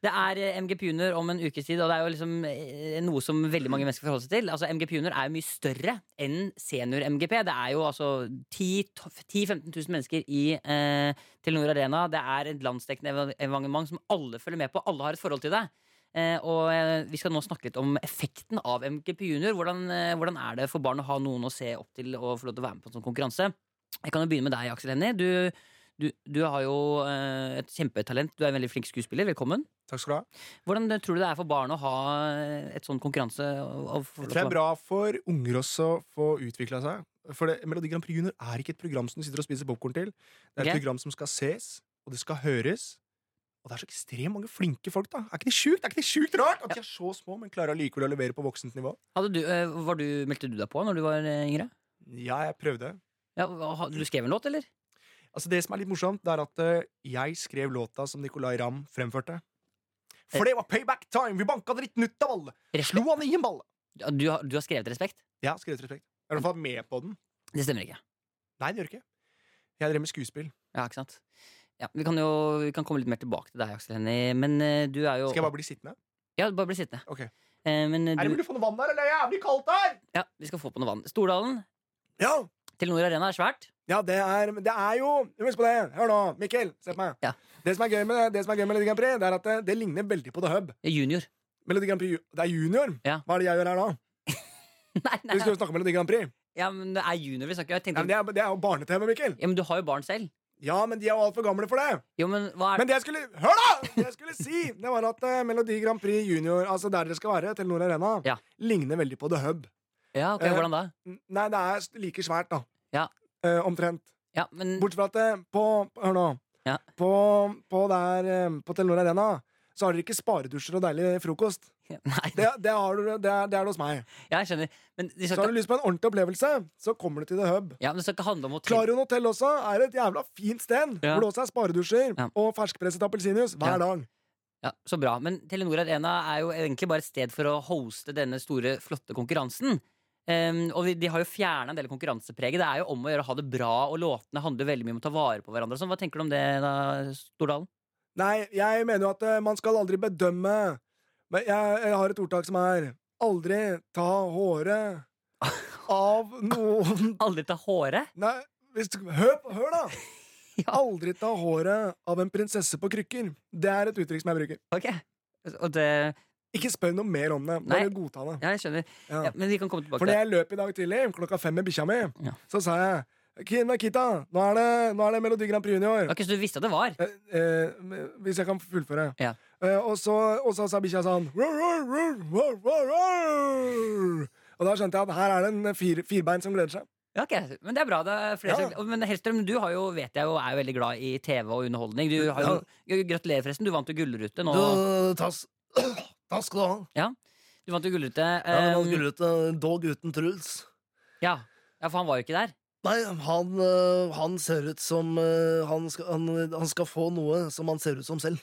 Speaker 2: Det er eh, MGP Junior om en ukes tid, og det er jo liksom eh, noe som veldig mange mennesker forholder seg til. Altså, MGP Junior er jo mye større enn senior-MGP. Det er jo altså 10 to- 10 000-15 000 mennesker i eh, Telenor Arena. Det er et landsdekkende eva- evenement som alle følger med på. Alle har et forhold til det. Eh, og eh, vi skal nå snakke litt om effekten av MGP Junior. Hvordan, eh, hvordan er det for barn å ha noen å se opp til og få lov til å være med på en sånn konkurranse? Jeg kan jo begynne med deg, Aksel Hennie. Du, du, du har jo eh, et kjempetalent. Du er en veldig flink skuespiller. Velkommen.
Speaker 1: Takk skal du ha.
Speaker 2: Hvordan eh, tror du det er for barn å ha et sånn konkurranse? og- og
Speaker 1: Jeg
Speaker 2: få
Speaker 1: tror det
Speaker 2: lov til å-
Speaker 1: er bra for unger også å få utvikla seg. For det, Melodi Grand Prix Junior er ikke et program som du sitter og spiser popkorn til. Det er et
Speaker 2: Ok.
Speaker 1: program som skal ses, og det skal høres. Og det er så ekstremt mange flinke folk, da. Er ikke det sjukt? Er ikke det sjukt rart at de er så små, men klarer allikevel å levere på voksent nivå?
Speaker 2: Hadde du, eh, var du, meldte du deg på når du var eh, yngre?
Speaker 1: Ja, jeg prøvde.
Speaker 2: Ja, hva- ha- du skrev en låt, eller?
Speaker 1: Altså Det som er litt morsomt, det er at eh, jeg skrev låta som Nicolay Ramm fremførte. For det var payback time! Vi banka dritten ut av alle! Slo
Speaker 2: Respekt.
Speaker 1: han i en balle!
Speaker 2: Ja, Du, har- du har skrevet respekt?
Speaker 1: Ja, skrevet respekt. Jeg er i hvert fall med på den.
Speaker 2: Det stemmer ikke.
Speaker 1: Nei, det gjør ikke. Jeg drev med skuespill.
Speaker 2: Ja, ikke sant? Ja, vi kan jo vi kan komme litt mer tilbake til deg, Aksel Hennie, men eh, du er jo
Speaker 1: Skal jeg bare bli sittende?
Speaker 2: Ja, bare bli sittende.
Speaker 1: Ok.
Speaker 2: Eh, men eh,
Speaker 1: Er det
Speaker 2: du,
Speaker 1: mulig å få noe vann her, eller er det jævlig kaldt her?
Speaker 2: ja, vi skal få på noe vann. Stordalen,
Speaker 1: Ja,
Speaker 2: Telenor Arena er svært.
Speaker 1: ja det, er, men det er jo Husk på det. Hør nå, Mikkel. Se på meg.
Speaker 2: Ja.
Speaker 1: Det som er gøy med, det som er gøy med Melodi Grand Prix, det er at eh, det, det ligner veldig på The Hub.
Speaker 2: Eh, Junior. <laughs>
Speaker 1: Melodi Grand Prix, ju- Det er junior.
Speaker 2: Ja.
Speaker 1: Hva er det jeg gjør her da?
Speaker 2: Nei, nei,
Speaker 1: Vi skal jo snakke om Melodi Grand Prix.
Speaker 2: Ja, men det er junior vi snakker om. Jeg
Speaker 1: Ja, men
Speaker 2: tenkte-
Speaker 1: det, er, det er jo barne-TV, Mikkel.
Speaker 2: Ja, men du har jo barn selv.
Speaker 1: Ja, men de er jo altfor gamle for det.
Speaker 2: Jo, men hva er
Speaker 1: Men det jeg skulle Hør, da! Det jeg skulle si, det var at eh, Melodi Grand Prix junior, altså der dere skal være, Telenor Arena,
Speaker 2: Ja.
Speaker 1: ligner veldig på The Hub.
Speaker 2: Ja, ok,
Speaker 1: eh,
Speaker 2: Hvordan da?
Speaker 1: N- Nei, det er like svært, da.
Speaker 2: Ja.
Speaker 1: Eh, omtrent.
Speaker 2: Ja, men
Speaker 1: Bortsett fra at eh, på Hør nå.
Speaker 2: Ja.
Speaker 1: På, på, der, eh, på Telenor Arena så har dere ikke sparedusjer og deilig frokost.
Speaker 2: <laughs> Nei,
Speaker 1: Det, det, har du, det, er, det er det hos meg.
Speaker 2: Ja, jeg skjønner. Men det
Speaker 1: Så
Speaker 2: skal,
Speaker 1: har du lyst på en ordentlig opplevelse, så kommer du til The Hub.
Speaker 2: ikke, ja, men det skal ikke handle om hotell.
Speaker 1: Klarion hotell også er et jævla fint sted,
Speaker 2: Ja.
Speaker 1: hvor det også er sparedusjer
Speaker 2: Ja.
Speaker 1: og ferskpresset appelsinjuice hver
Speaker 2: Ja.
Speaker 1: dag.
Speaker 2: Ja, så bra. Men Telenor Arena er jo egentlig bare et sted for å hoste denne store, flotte konkurransen. Ehm, og vi, de har jo fjerna en del av konkurransepreget. Det er jo om å gjøre å ha det bra, og låtene handler veldig mye om å ta vare på hverandre. og Sånn. Hva tenker du om det, da, Stordalen?
Speaker 1: Nei, jeg mener jo at eh, man skal aldri bedømme Men jeg, jeg har et ordtak som er Aldri ta
Speaker 2: <laughs>
Speaker 1: håret av noen
Speaker 2: Aldri ta håret?
Speaker 1: Nei, hvis du, hør, på- hør da!
Speaker 2: <laughs> Ja.
Speaker 1: Aldri ta håret av en prinsesse på krykker. Det er et uttrykk som jeg bruker.
Speaker 2: Ok. Og det
Speaker 1: Ikke spør noe mer om det.
Speaker 2: Nei.
Speaker 1: Bare godta det.
Speaker 2: Ja, jeg skjønner.
Speaker 1: Ja.
Speaker 2: Ja, men vi kan komme tilbake
Speaker 1: For
Speaker 2: til
Speaker 1: når
Speaker 2: det.
Speaker 1: jeg løp i dag tidlig, klokka fem med bikkja mi,
Speaker 2: Ja.
Speaker 1: så sa jeg Kina Kita, nå er det, nå er det Melodi Grand Prix Junior.
Speaker 2: Ok, Så du visste at det var?
Speaker 1: Eh, eh, hvis jeg kan fullføre.
Speaker 2: Ja.
Speaker 1: Eh, og, så, og så sa bikkja sånn «Ror, ror, ror, ror, ror, ror». Og da skjønte jeg at her er det en fir, firbein som gleder seg.
Speaker 2: Ja, Ok, Men det er bra. Det er flere
Speaker 1: Ja.
Speaker 2: som- Men Hellstrøm, du har jo, vet jeg jo, er jo veldig glad i TV og underholdning. Du har jo, Gratulerer, forresten. Du vant jo Gullrute nå.
Speaker 4: <clears throat> Takk skal du ha.
Speaker 2: Du vant jo Gullrute.
Speaker 4: Ja,
Speaker 2: ehm,
Speaker 4: man skulle ut, eh, Dog uten Truls.
Speaker 2: ja. ja, for han var jo ikke der.
Speaker 5: Nei, han, øh, han ser ut som øh, han skal, han, han skal få noe som han ser ut som selv.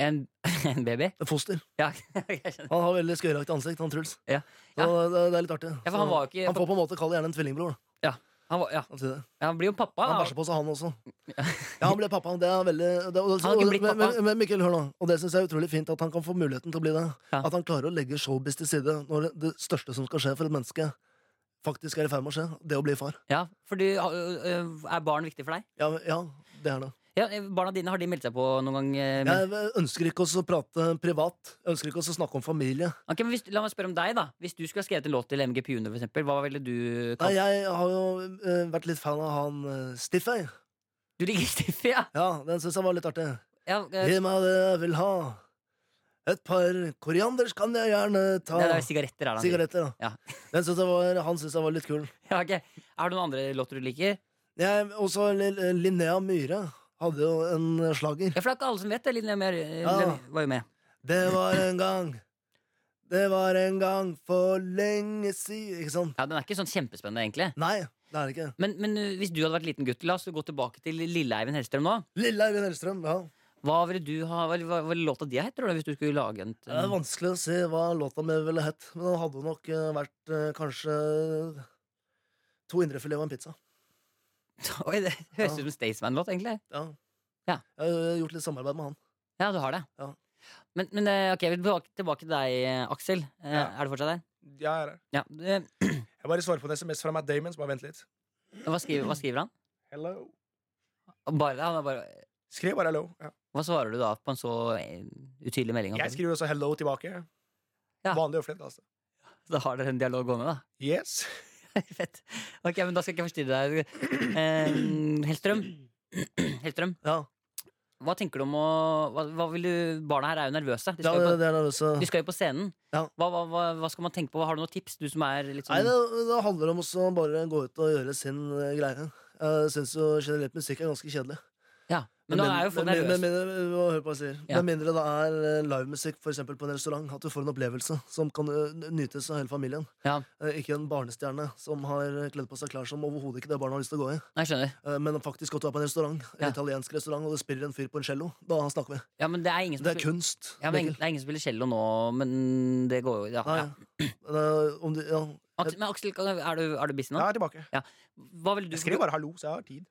Speaker 2: En, <laughs> en baby?
Speaker 5: Et foster.
Speaker 2: Ja, <laughs> jeg skjønner.
Speaker 5: Han har veldig skøyeraktig ansikt, han Truls.
Speaker 2: Ja.
Speaker 5: Så Det, det er litt artig.
Speaker 2: Ja, for han
Speaker 5: Så
Speaker 2: var jo ikke-
Speaker 5: han får på en måte kall gjerne en tvillingbror. da.
Speaker 2: Han, var, ja.
Speaker 5: Han sier det.
Speaker 2: han blir jo pappa.
Speaker 5: Han
Speaker 2: da.
Speaker 5: bæsjer på seg, han også.
Speaker 2: <laughs>
Speaker 5: Ja, han ble pappa. Det er veldig det, og,
Speaker 2: Han har ikke
Speaker 5: og-
Speaker 2: blitt
Speaker 5: men,
Speaker 2: pappa.
Speaker 5: men, men Mikkel, hør nå. Og det syns jeg er utrolig fint at han kan få muligheten til å bli det.
Speaker 2: Ja.
Speaker 5: At han klarer å legge showbiz til side når det, det største som skal skje for et menneske, faktisk er i ferd med å skje. Det å bli far.
Speaker 2: Ja, for du, øh, øh, er barn viktig for deg?
Speaker 5: Ja, ja det er det.
Speaker 2: Ja, eh, barna dine, har de meldt seg på noen gang? øh, men-
Speaker 5: Jeg eh, ønsker ikke oss å prate privat. Jeg ønsker ikke oss å snakke om familie.
Speaker 2: Ok, men hvis, la meg spørre om deg, da. Hvis du skulle ha skrevet en låt til MGP Junior, for eksempel, hva ville du
Speaker 5: Nei,
Speaker 2: kalt
Speaker 5: jeg har jo eh, vært litt fan av han eh, Stiff, jeg.
Speaker 2: Du liker Stiffi, ja?
Speaker 5: Ja, den syns jeg var litt artig.
Speaker 2: ja øh,
Speaker 5: Gi meg det jeg vil ha. Et par korianders kan jeg gjerne ta.
Speaker 2: det er sigaretter, er det han sier.
Speaker 5: Sigaretter, da.
Speaker 2: Ja.
Speaker 5: <laughs> Den synes jeg var, han syns jeg var litt kul.
Speaker 2: Ja, ok. Er det noen andre låter du liker?
Speaker 5: Jeg, også Li- Linnea Myhre hadde jo en slager.
Speaker 2: Ja, for det er ikke alle som vet det. Linnea Mer øh,
Speaker 5: Ja.
Speaker 2: Linnea var jo med.
Speaker 5: Det var en gang, det var en gang for lenge siden Ikke sant?
Speaker 2: Ja, Den er ikke sånn kjempespennende, egentlig.
Speaker 5: Nei, det er det ikke.
Speaker 2: Men, men øh, hvis du hadde vært liten gutt, la oss gå tilbake til lille Eivind Hellstrøm nå.
Speaker 5: Lille Eivind Hellstrøm. Ja.
Speaker 2: Hva ville du ha, hva, hva, hva ville låta di hett, tror du, hvis du skulle lage en
Speaker 5: Det er vanskelig å si hva låta mi ville hett, men den hadde jo nok eh, vært eh, kanskje to indrefilet og en pizza.
Speaker 2: <laughs> Oi, det høres
Speaker 5: Ja.
Speaker 2: ut som Staysman-låt, egentlig.
Speaker 5: Ja.
Speaker 2: Ja.
Speaker 5: Jeg har eh, gjort litt samarbeid med han.
Speaker 2: Ja, du har det.
Speaker 5: Ja.
Speaker 2: Men, men eh, ok, jeg vil tilbake, tilbake til deg, eh, Aksel. Eh,
Speaker 1: Ja.
Speaker 2: Er du fortsatt der?
Speaker 1: Ja, jeg er her.
Speaker 2: Ja. eh,
Speaker 1: Jeg bare svarer på en SMS fra Matt Damon, så bare vent litt.
Speaker 2: Hva skriver, hva skriver han?
Speaker 1: Hello.
Speaker 2: Bare det? Han er bare,
Speaker 1: Skriv bare hello. Ja.
Speaker 2: hva svarer du da på en så eh, utydelig melding?
Speaker 1: Jeg skriver også hello tilbake.
Speaker 2: Ja.
Speaker 1: Vanlig høflighet, altså.
Speaker 2: Da har dere en dialog gående, da.
Speaker 1: Yes.
Speaker 2: <laughs> Fett. Ok, men da skal jeg ikke forstyrre deg. Eh, Hellstrøm. <clears throat> Hellstrøm,
Speaker 5: Ja,
Speaker 2: hva tenker du om å hva, hva vil du, Barna her er jo nervøse. De
Speaker 5: ja
Speaker 2: skal,
Speaker 5: det,
Speaker 2: jo på,
Speaker 5: det er nervøse.
Speaker 2: de skal jo på scenen.
Speaker 5: Ja.
Speaker 2: Hva, hva, hva, hva skal man tenke på? Har du noen tips, du som er litt
Speaker 5: Nei,
Speaker 2: sånn
Speaker 5: det, det handler om også å bare gå ut og gjøre sin eh, greie. Jeg syns jo generelt musikk er ganske kjedelig.
Speaker 2: Ja, men nå er jo folk
Speaker 5: men, men,
Speaker 2: nervøse.
Speaker 5: men, men, hva- hør på hva jeg sier.
Speaker 2: Ja.
Speaker 5: Med mindre det er eh, livemusikk for eksempel på en restaurant, at du får en opplevelse som kan eh, nytes av hele familien.
Speaker 2: Ja.
Speaker 5: Eh, Ikke en barnestjerne som har eh, kledd på seg klær som overhodet ikke det barnet har lyst til å gå i.
Speaker 2: Nei, Jeg skjønner.
Speaker 5: Eh, Men faktisk at du er på en restaurant, en
Speaker 2: Ja.
Speaker 5: italiensk restaurant, og det spiller en fyr på en cello. Da snakker vi.
Speaker 2: Ja, men det er ingen som
Speaker 5: Det er kunst.
Speaker 2: Ja, men ingen-
Speaker 5: Mikkel.
Speaker 2: Det er ingen som spiller cello nå, men det går jo ja,
Speaker 5: Nei,
Speaker 2: ja.
Speaker 5: det er, om du, ja.
Speaker 2: Aks- Men Aksel, kan- er du, er du busy nå?
Speaker 1: Jeg er tilbake.
Speaker 2: Hva ville du
Speaker 1: Jeg skriver bare hallo, så jeg har tid.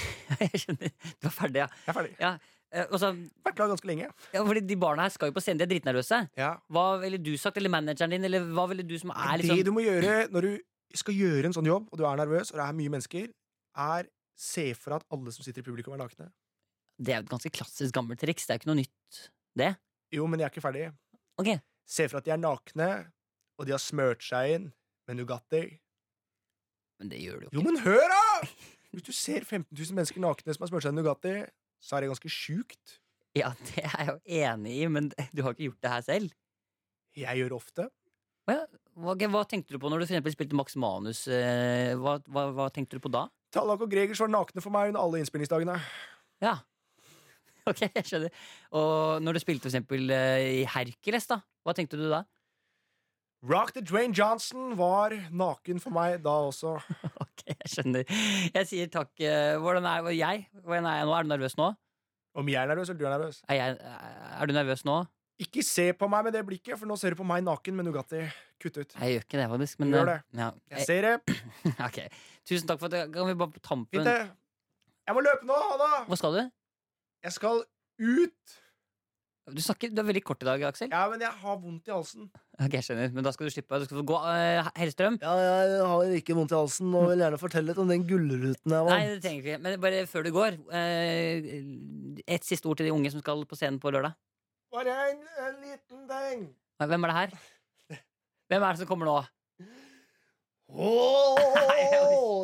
Speaker 2: <laughs> Jeg skjønner. Du er ferdig, ja.
Speaker 1: Jeg er ferdig. Jeg
Speaker 2: ja. eh, Altså,
Speaker 1: har vært klar ganske lenge.
Speaker 2: ja, fordi De barna her skal jo på scenen, de er dritnervøse.
Speaker 1: Ja.
Speaker 2: Hva ville du sagt, eller manageren din, eller hva ville du som er
Speaker 1: Det
Speaker 2: liksom
Speaker 1: du må gjøre når du skal gjøre en sånn jobb, og du er nervøs, og det er mye mennesker, er se for deg at alle som sitter i publikum, er nakne.
Speaker 2: Det er jo et ganske klassisk gammelt triks, det er jo ikke noe nytt, det.
Speaker 1: Jo, men jeg er ikke ferdig.
Speaker 2: Ok,
Speaker 1: Se for deg at de er nakne, og de har smørt seg inn med Nugatti.
Speaker 2: Men det gjør du jo
Speaker 1: Jo,
Speaker 2: ikke.
Speaker 1: men hør, da! Hvis du ser 15 000 mennesker nakne som har smørt seg inn med Nugatti, så er det ganske sjukt.
Speaker 2: Ja, det er jeg jo enig i, men <laughs> du har ikke gjort det her selv.
Speaker 1: Jeg gjør det ofte.
Speaker 2: Å ja, ok, hva tenkte du på når du for eksempel spilte Max Manus? eh, Hva, hva, hva tenkte du på da? <laughs>
Speaker 1: Tallak og Gregers var nakne for meg under alle innspillingsdagene.
Speaker 2: Ja. Ok, jeg skjønner. Og når du spilte for eksempel eh, i Hercules, da, hva tenkte du
Speaker 1: <laughs>
Speaker 2: da?
Speaker 1: Rock the Dwayne Johnson var naken for meg da også.
Speaker 2: Ok, jeg skjønner. Jeg sier takk. eh, Hvordan er jeg? Hvordan er jeg nå? Er du nervøs nå?
Speaker 1: Om jeg er nervøs, eller du er nervøs?
Speaker 2: Er, jeg, er du nervøs nå?
Speaker 1: Ikke se på meg med det blikket, for nå ser du på meg naken med Nugatti. Kutt ut.
Speaker 2: Jeg gjør ikke det, faktisk. Men,
Speaker 1: Gjør
Speaker 2: eh,
Speaker 1: det.
Speaker 2: Ja,
Speaker 1: Jeg ser det.
Speaker 2: jeg, ok. Tusen takk for at Kan vi bare på
Speaker 1: Fint,
Speaker 2: tampen
Speaker 1: det. Jeg må løpe nå, Hanna!
Speaker 2: Hva skal du?
Speaker 1: Jeg skal ut!
Speaker 2: Du snakker, du er veldig kort i dag, Aksel.
Speaker 1: Ja, men jeg har vondt i halsen.
Speaker 2: Ok, jeg skjønner. Men da skal du slippe. Du skal få gå. eh, Hellstrøm?
Speaker 5: ja, jeg har ikke vondt i halsen og vil gjerne fortelle litt om den gullruten jeg
Speaker 2: Nei,
Speaker 5: var.
Speaker 2: det trenger vi ikke. Men bare før du går, eh, et siste ord til de unge som skal på scenen på lørdag.
Speaker 1: Bare en, en liten ting.
Speaker 2: Hvem er det her? Hvem er det som kommer nå?
Speaker 5: Åh,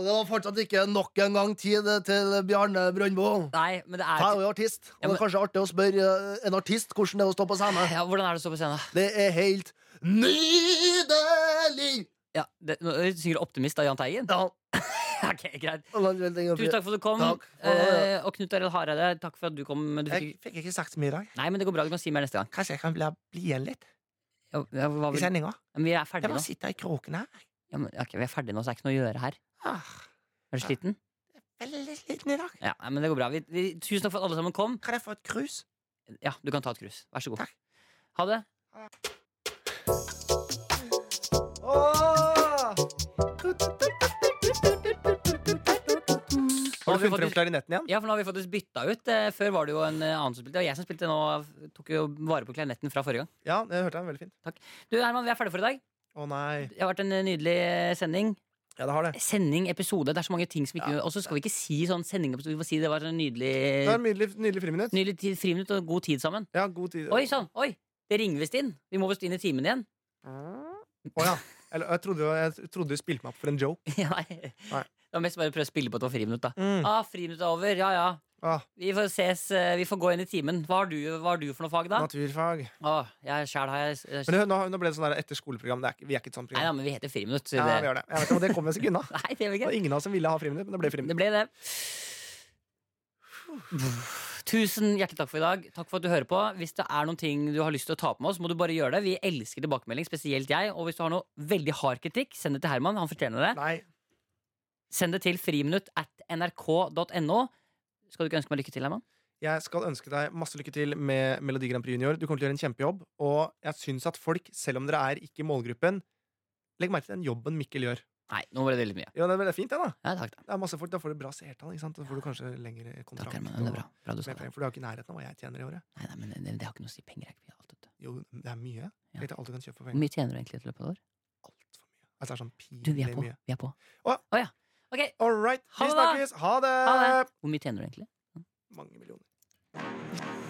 Speaker 5: det var fortsatt ikke nok en gang tid til Bjarne Brøndbo.
Speaker 2: Nei, men det er
Speaker 5: Jeg er jo artist, og
Speaker 2: Ja,
Speaker 5: det
Speaker 2: men-
Speaker 5: er kanskje artig å spørre eh, en artist hvordan det er å stå på scenen.
Speaker 2: ja, Hvordan er det å stå på scenen?
Speaker 5: Det er helt nydelig!
Speaker 2: Ja, det, nå synger du 'Optimist' av Jahn Teigen?
Speaker 5: Ja,
Speaker 2: <laughs> Ok, greit. Tusen
Speaker 5: Tusen
Speaker 2: takk for at du kom.
Speaker 5: Takk.
Speaker 2: Eh, og Knut Arild Hareide, takk for at du kom. Du
Speaker 1: Jeg
Speaker 2: fikk...
Speaker 1: fikk ikke sagt så mye i dag.
Speaker 2: Nei, men det går bra. Du kan si mer neste gang.
Speaker 1: Kanskje jeg kan la bli igjen litt
Speaker 2: Ja, ja, hva
Speaker 1: i
Speaker 2: vil...
Speaker 1: sendinga?
Speaker 2: Men vi er
Speaker 1: Jeg
Speaker 2: ferdige
Speaker 1: bare
Speaker 2: nå.
Speaker 1: sitter i kråken her.
Speaker 2: Ja, men, ok, vi er ferdige nå, så det er ikke noe å gjøre her.
Speaker 1: Ah.
Speaker 2: Er du sliten?
Speaker 1: veldig sliten i dag.
Speaker 2: Ja, nei, men det går bra. Vi, vi, tusen takk for at alle sammen kom.
Speaker 1: Kan jeg få et krus?
Speaker 2: Ja, du kan ta et krus. Vær så god.
Speaker 1: Takk.
Speaker 2: Ha det.
Speaker 1: Har du funnet frem klarinetten igjen?
Speaker 2: Ja, for nå har vi faktisk bytta ut. Eh, Før var det jo en eh, annen som spilte. Det var jeg som spilte nå. eh, Tok jo vare på klarinetten fra forrige gang.
Speaker 1: Ja, det hørte jeg. Veldig fint.
Speaker 2: Du, Herman, vi er ferdige for i dag.
Speaker 1: Å nei.
Speaker 2: Det har vært en eh, nydelig eh, sending.
Speaker 1: Ja, det har det.
Speaker 2: Sending, episode. Det er så mange ting som ikke Og så skal vi ikke si sånn sending, episode, vi får si det var
Speaker 1: Det
Speaker 2: en
Speaker 1: er
Speaker 2: nydelig,
Speaker 1: en nydelig, nydelig friminutt.
Speaker 2: nydelig tid, friminutt og god tid sammen.
Speaker 1: Ja, god tid.
Speaker 2: Oi sann! Oi! Det ringer visst inn. Vi må visst inn i timen igjen. <laughs>
Speaker 1: Å, ja. Eller, jeg, trodde, jeg trodde du spilte meg opp for en joke.
Speaker 2: Nei. Det var mest bare å prøve å spille på at det var friminutt, da.
Speaker 1: <laughs> Mm.
Speaker 2: Ah, friminutt er over. Ja, ja.
Speaker 1: Ah,
Speaker 2: Vi får ses. eh, Vi får gå inn i timen. Hva har du, hva har du for noe fag, da?
Speaker 1: naturfag.
Speaker 2: Åh, jeg selv har jeg jeg-
Speaker 1: Men det, nå, nå ble det sånn der etter skoleprogram. Det er, ikke- vi er ikke et sånt
Speaker 2: Nei da,
Speaker 1: program.
Speaker 2: men vi heter Friminutt. så
Speaker 1: Ja, vi
Speaker 2: det...
Speaker 1: gjør det. Jeg vet, ikke, og det kom vi oss ikke
Speaker 2: <laughs>
Speaker 1: unna.
Speaker 2: Nei, det gjør vi
Speaker 1: Det
Speaker 2: ikke.
Speaker 1: var ingen av oss som ville ha friminutt, men det ble friminutt.
Speaker 2: Det ble det. Tusen hjertelig takk for i dag. Takk for at du hører på. Hvis det er noen ting du har lyst til å ta på med oss, må du bare gjøre det. Vi elsker tilbakemelding, spesielt jeg. Og hvis du har noe veldig hard kritikk, send det til Herman. Han fortjener det.
Speaker 1: Nei.
Speaker 2: Send det til friminutt at nrk.no. Skal du ikke ønske meg lykke til, Herman?
Speaker 1: Jeg skal ønske deg masse lykke til med Melodi Grand Prix Junior. Du kommer til å gjøre en kjempejobb. Og jeg syns at folk, selv om dere er ikke i målgruppen, legg merke til den jobben Mikkel gjør.
Speaker 2: Nei, nå var det veldig mye.
Speaker 1: Ja, det er veldig fint, det, da.
Speaker 2: Ja, takk, da.
Speaker 1: Det er masse folk, Da får du bra seertall. ikke sant? Da får du kanskje lengre kontrakt.
Speaker 2: Takk, Herman. Det er
Speaker 1: og
Speaker 2: bra. bra du sa
Speaker 1: mer
Speaker 2: det.
Speaker 1: penger, For du er jo ikke i nærheten av hva jeg tjener i året.
Speaker 2: Nei, nei, men det, det har ikke noe å si. Penger er ikke mye. Alt, vet du.
Speaker 1: Jo, det er mye.
Speaker 2: Ja.
Speaker 1: Tenk deg alt du kan kjøpe for
Speaker 2: Hvor
Speaker 1: penger.
Speaker 2: mye tjener du egentlig i løpet av et år?
Speaker 1: Altfor mye. Altså, det er sånn
Speaker 2: Du, vi er
Speaker 1: pinlig
Speaker 2: på.
Speaker 1: mye.
Speaker 2: Vi er på.
Speaker 1: Å.
Speaker 2: Å, ja. Ok,
Speaker 1: All right,
Speaker 2: Ha
Speaker 1: vi
Speaker 2: det da.
Speaker 1: snakkes! Ha det!
Speaker 2: ha det. Hvor mye tjener du egentlig?
Speaker 1: Mange millioner.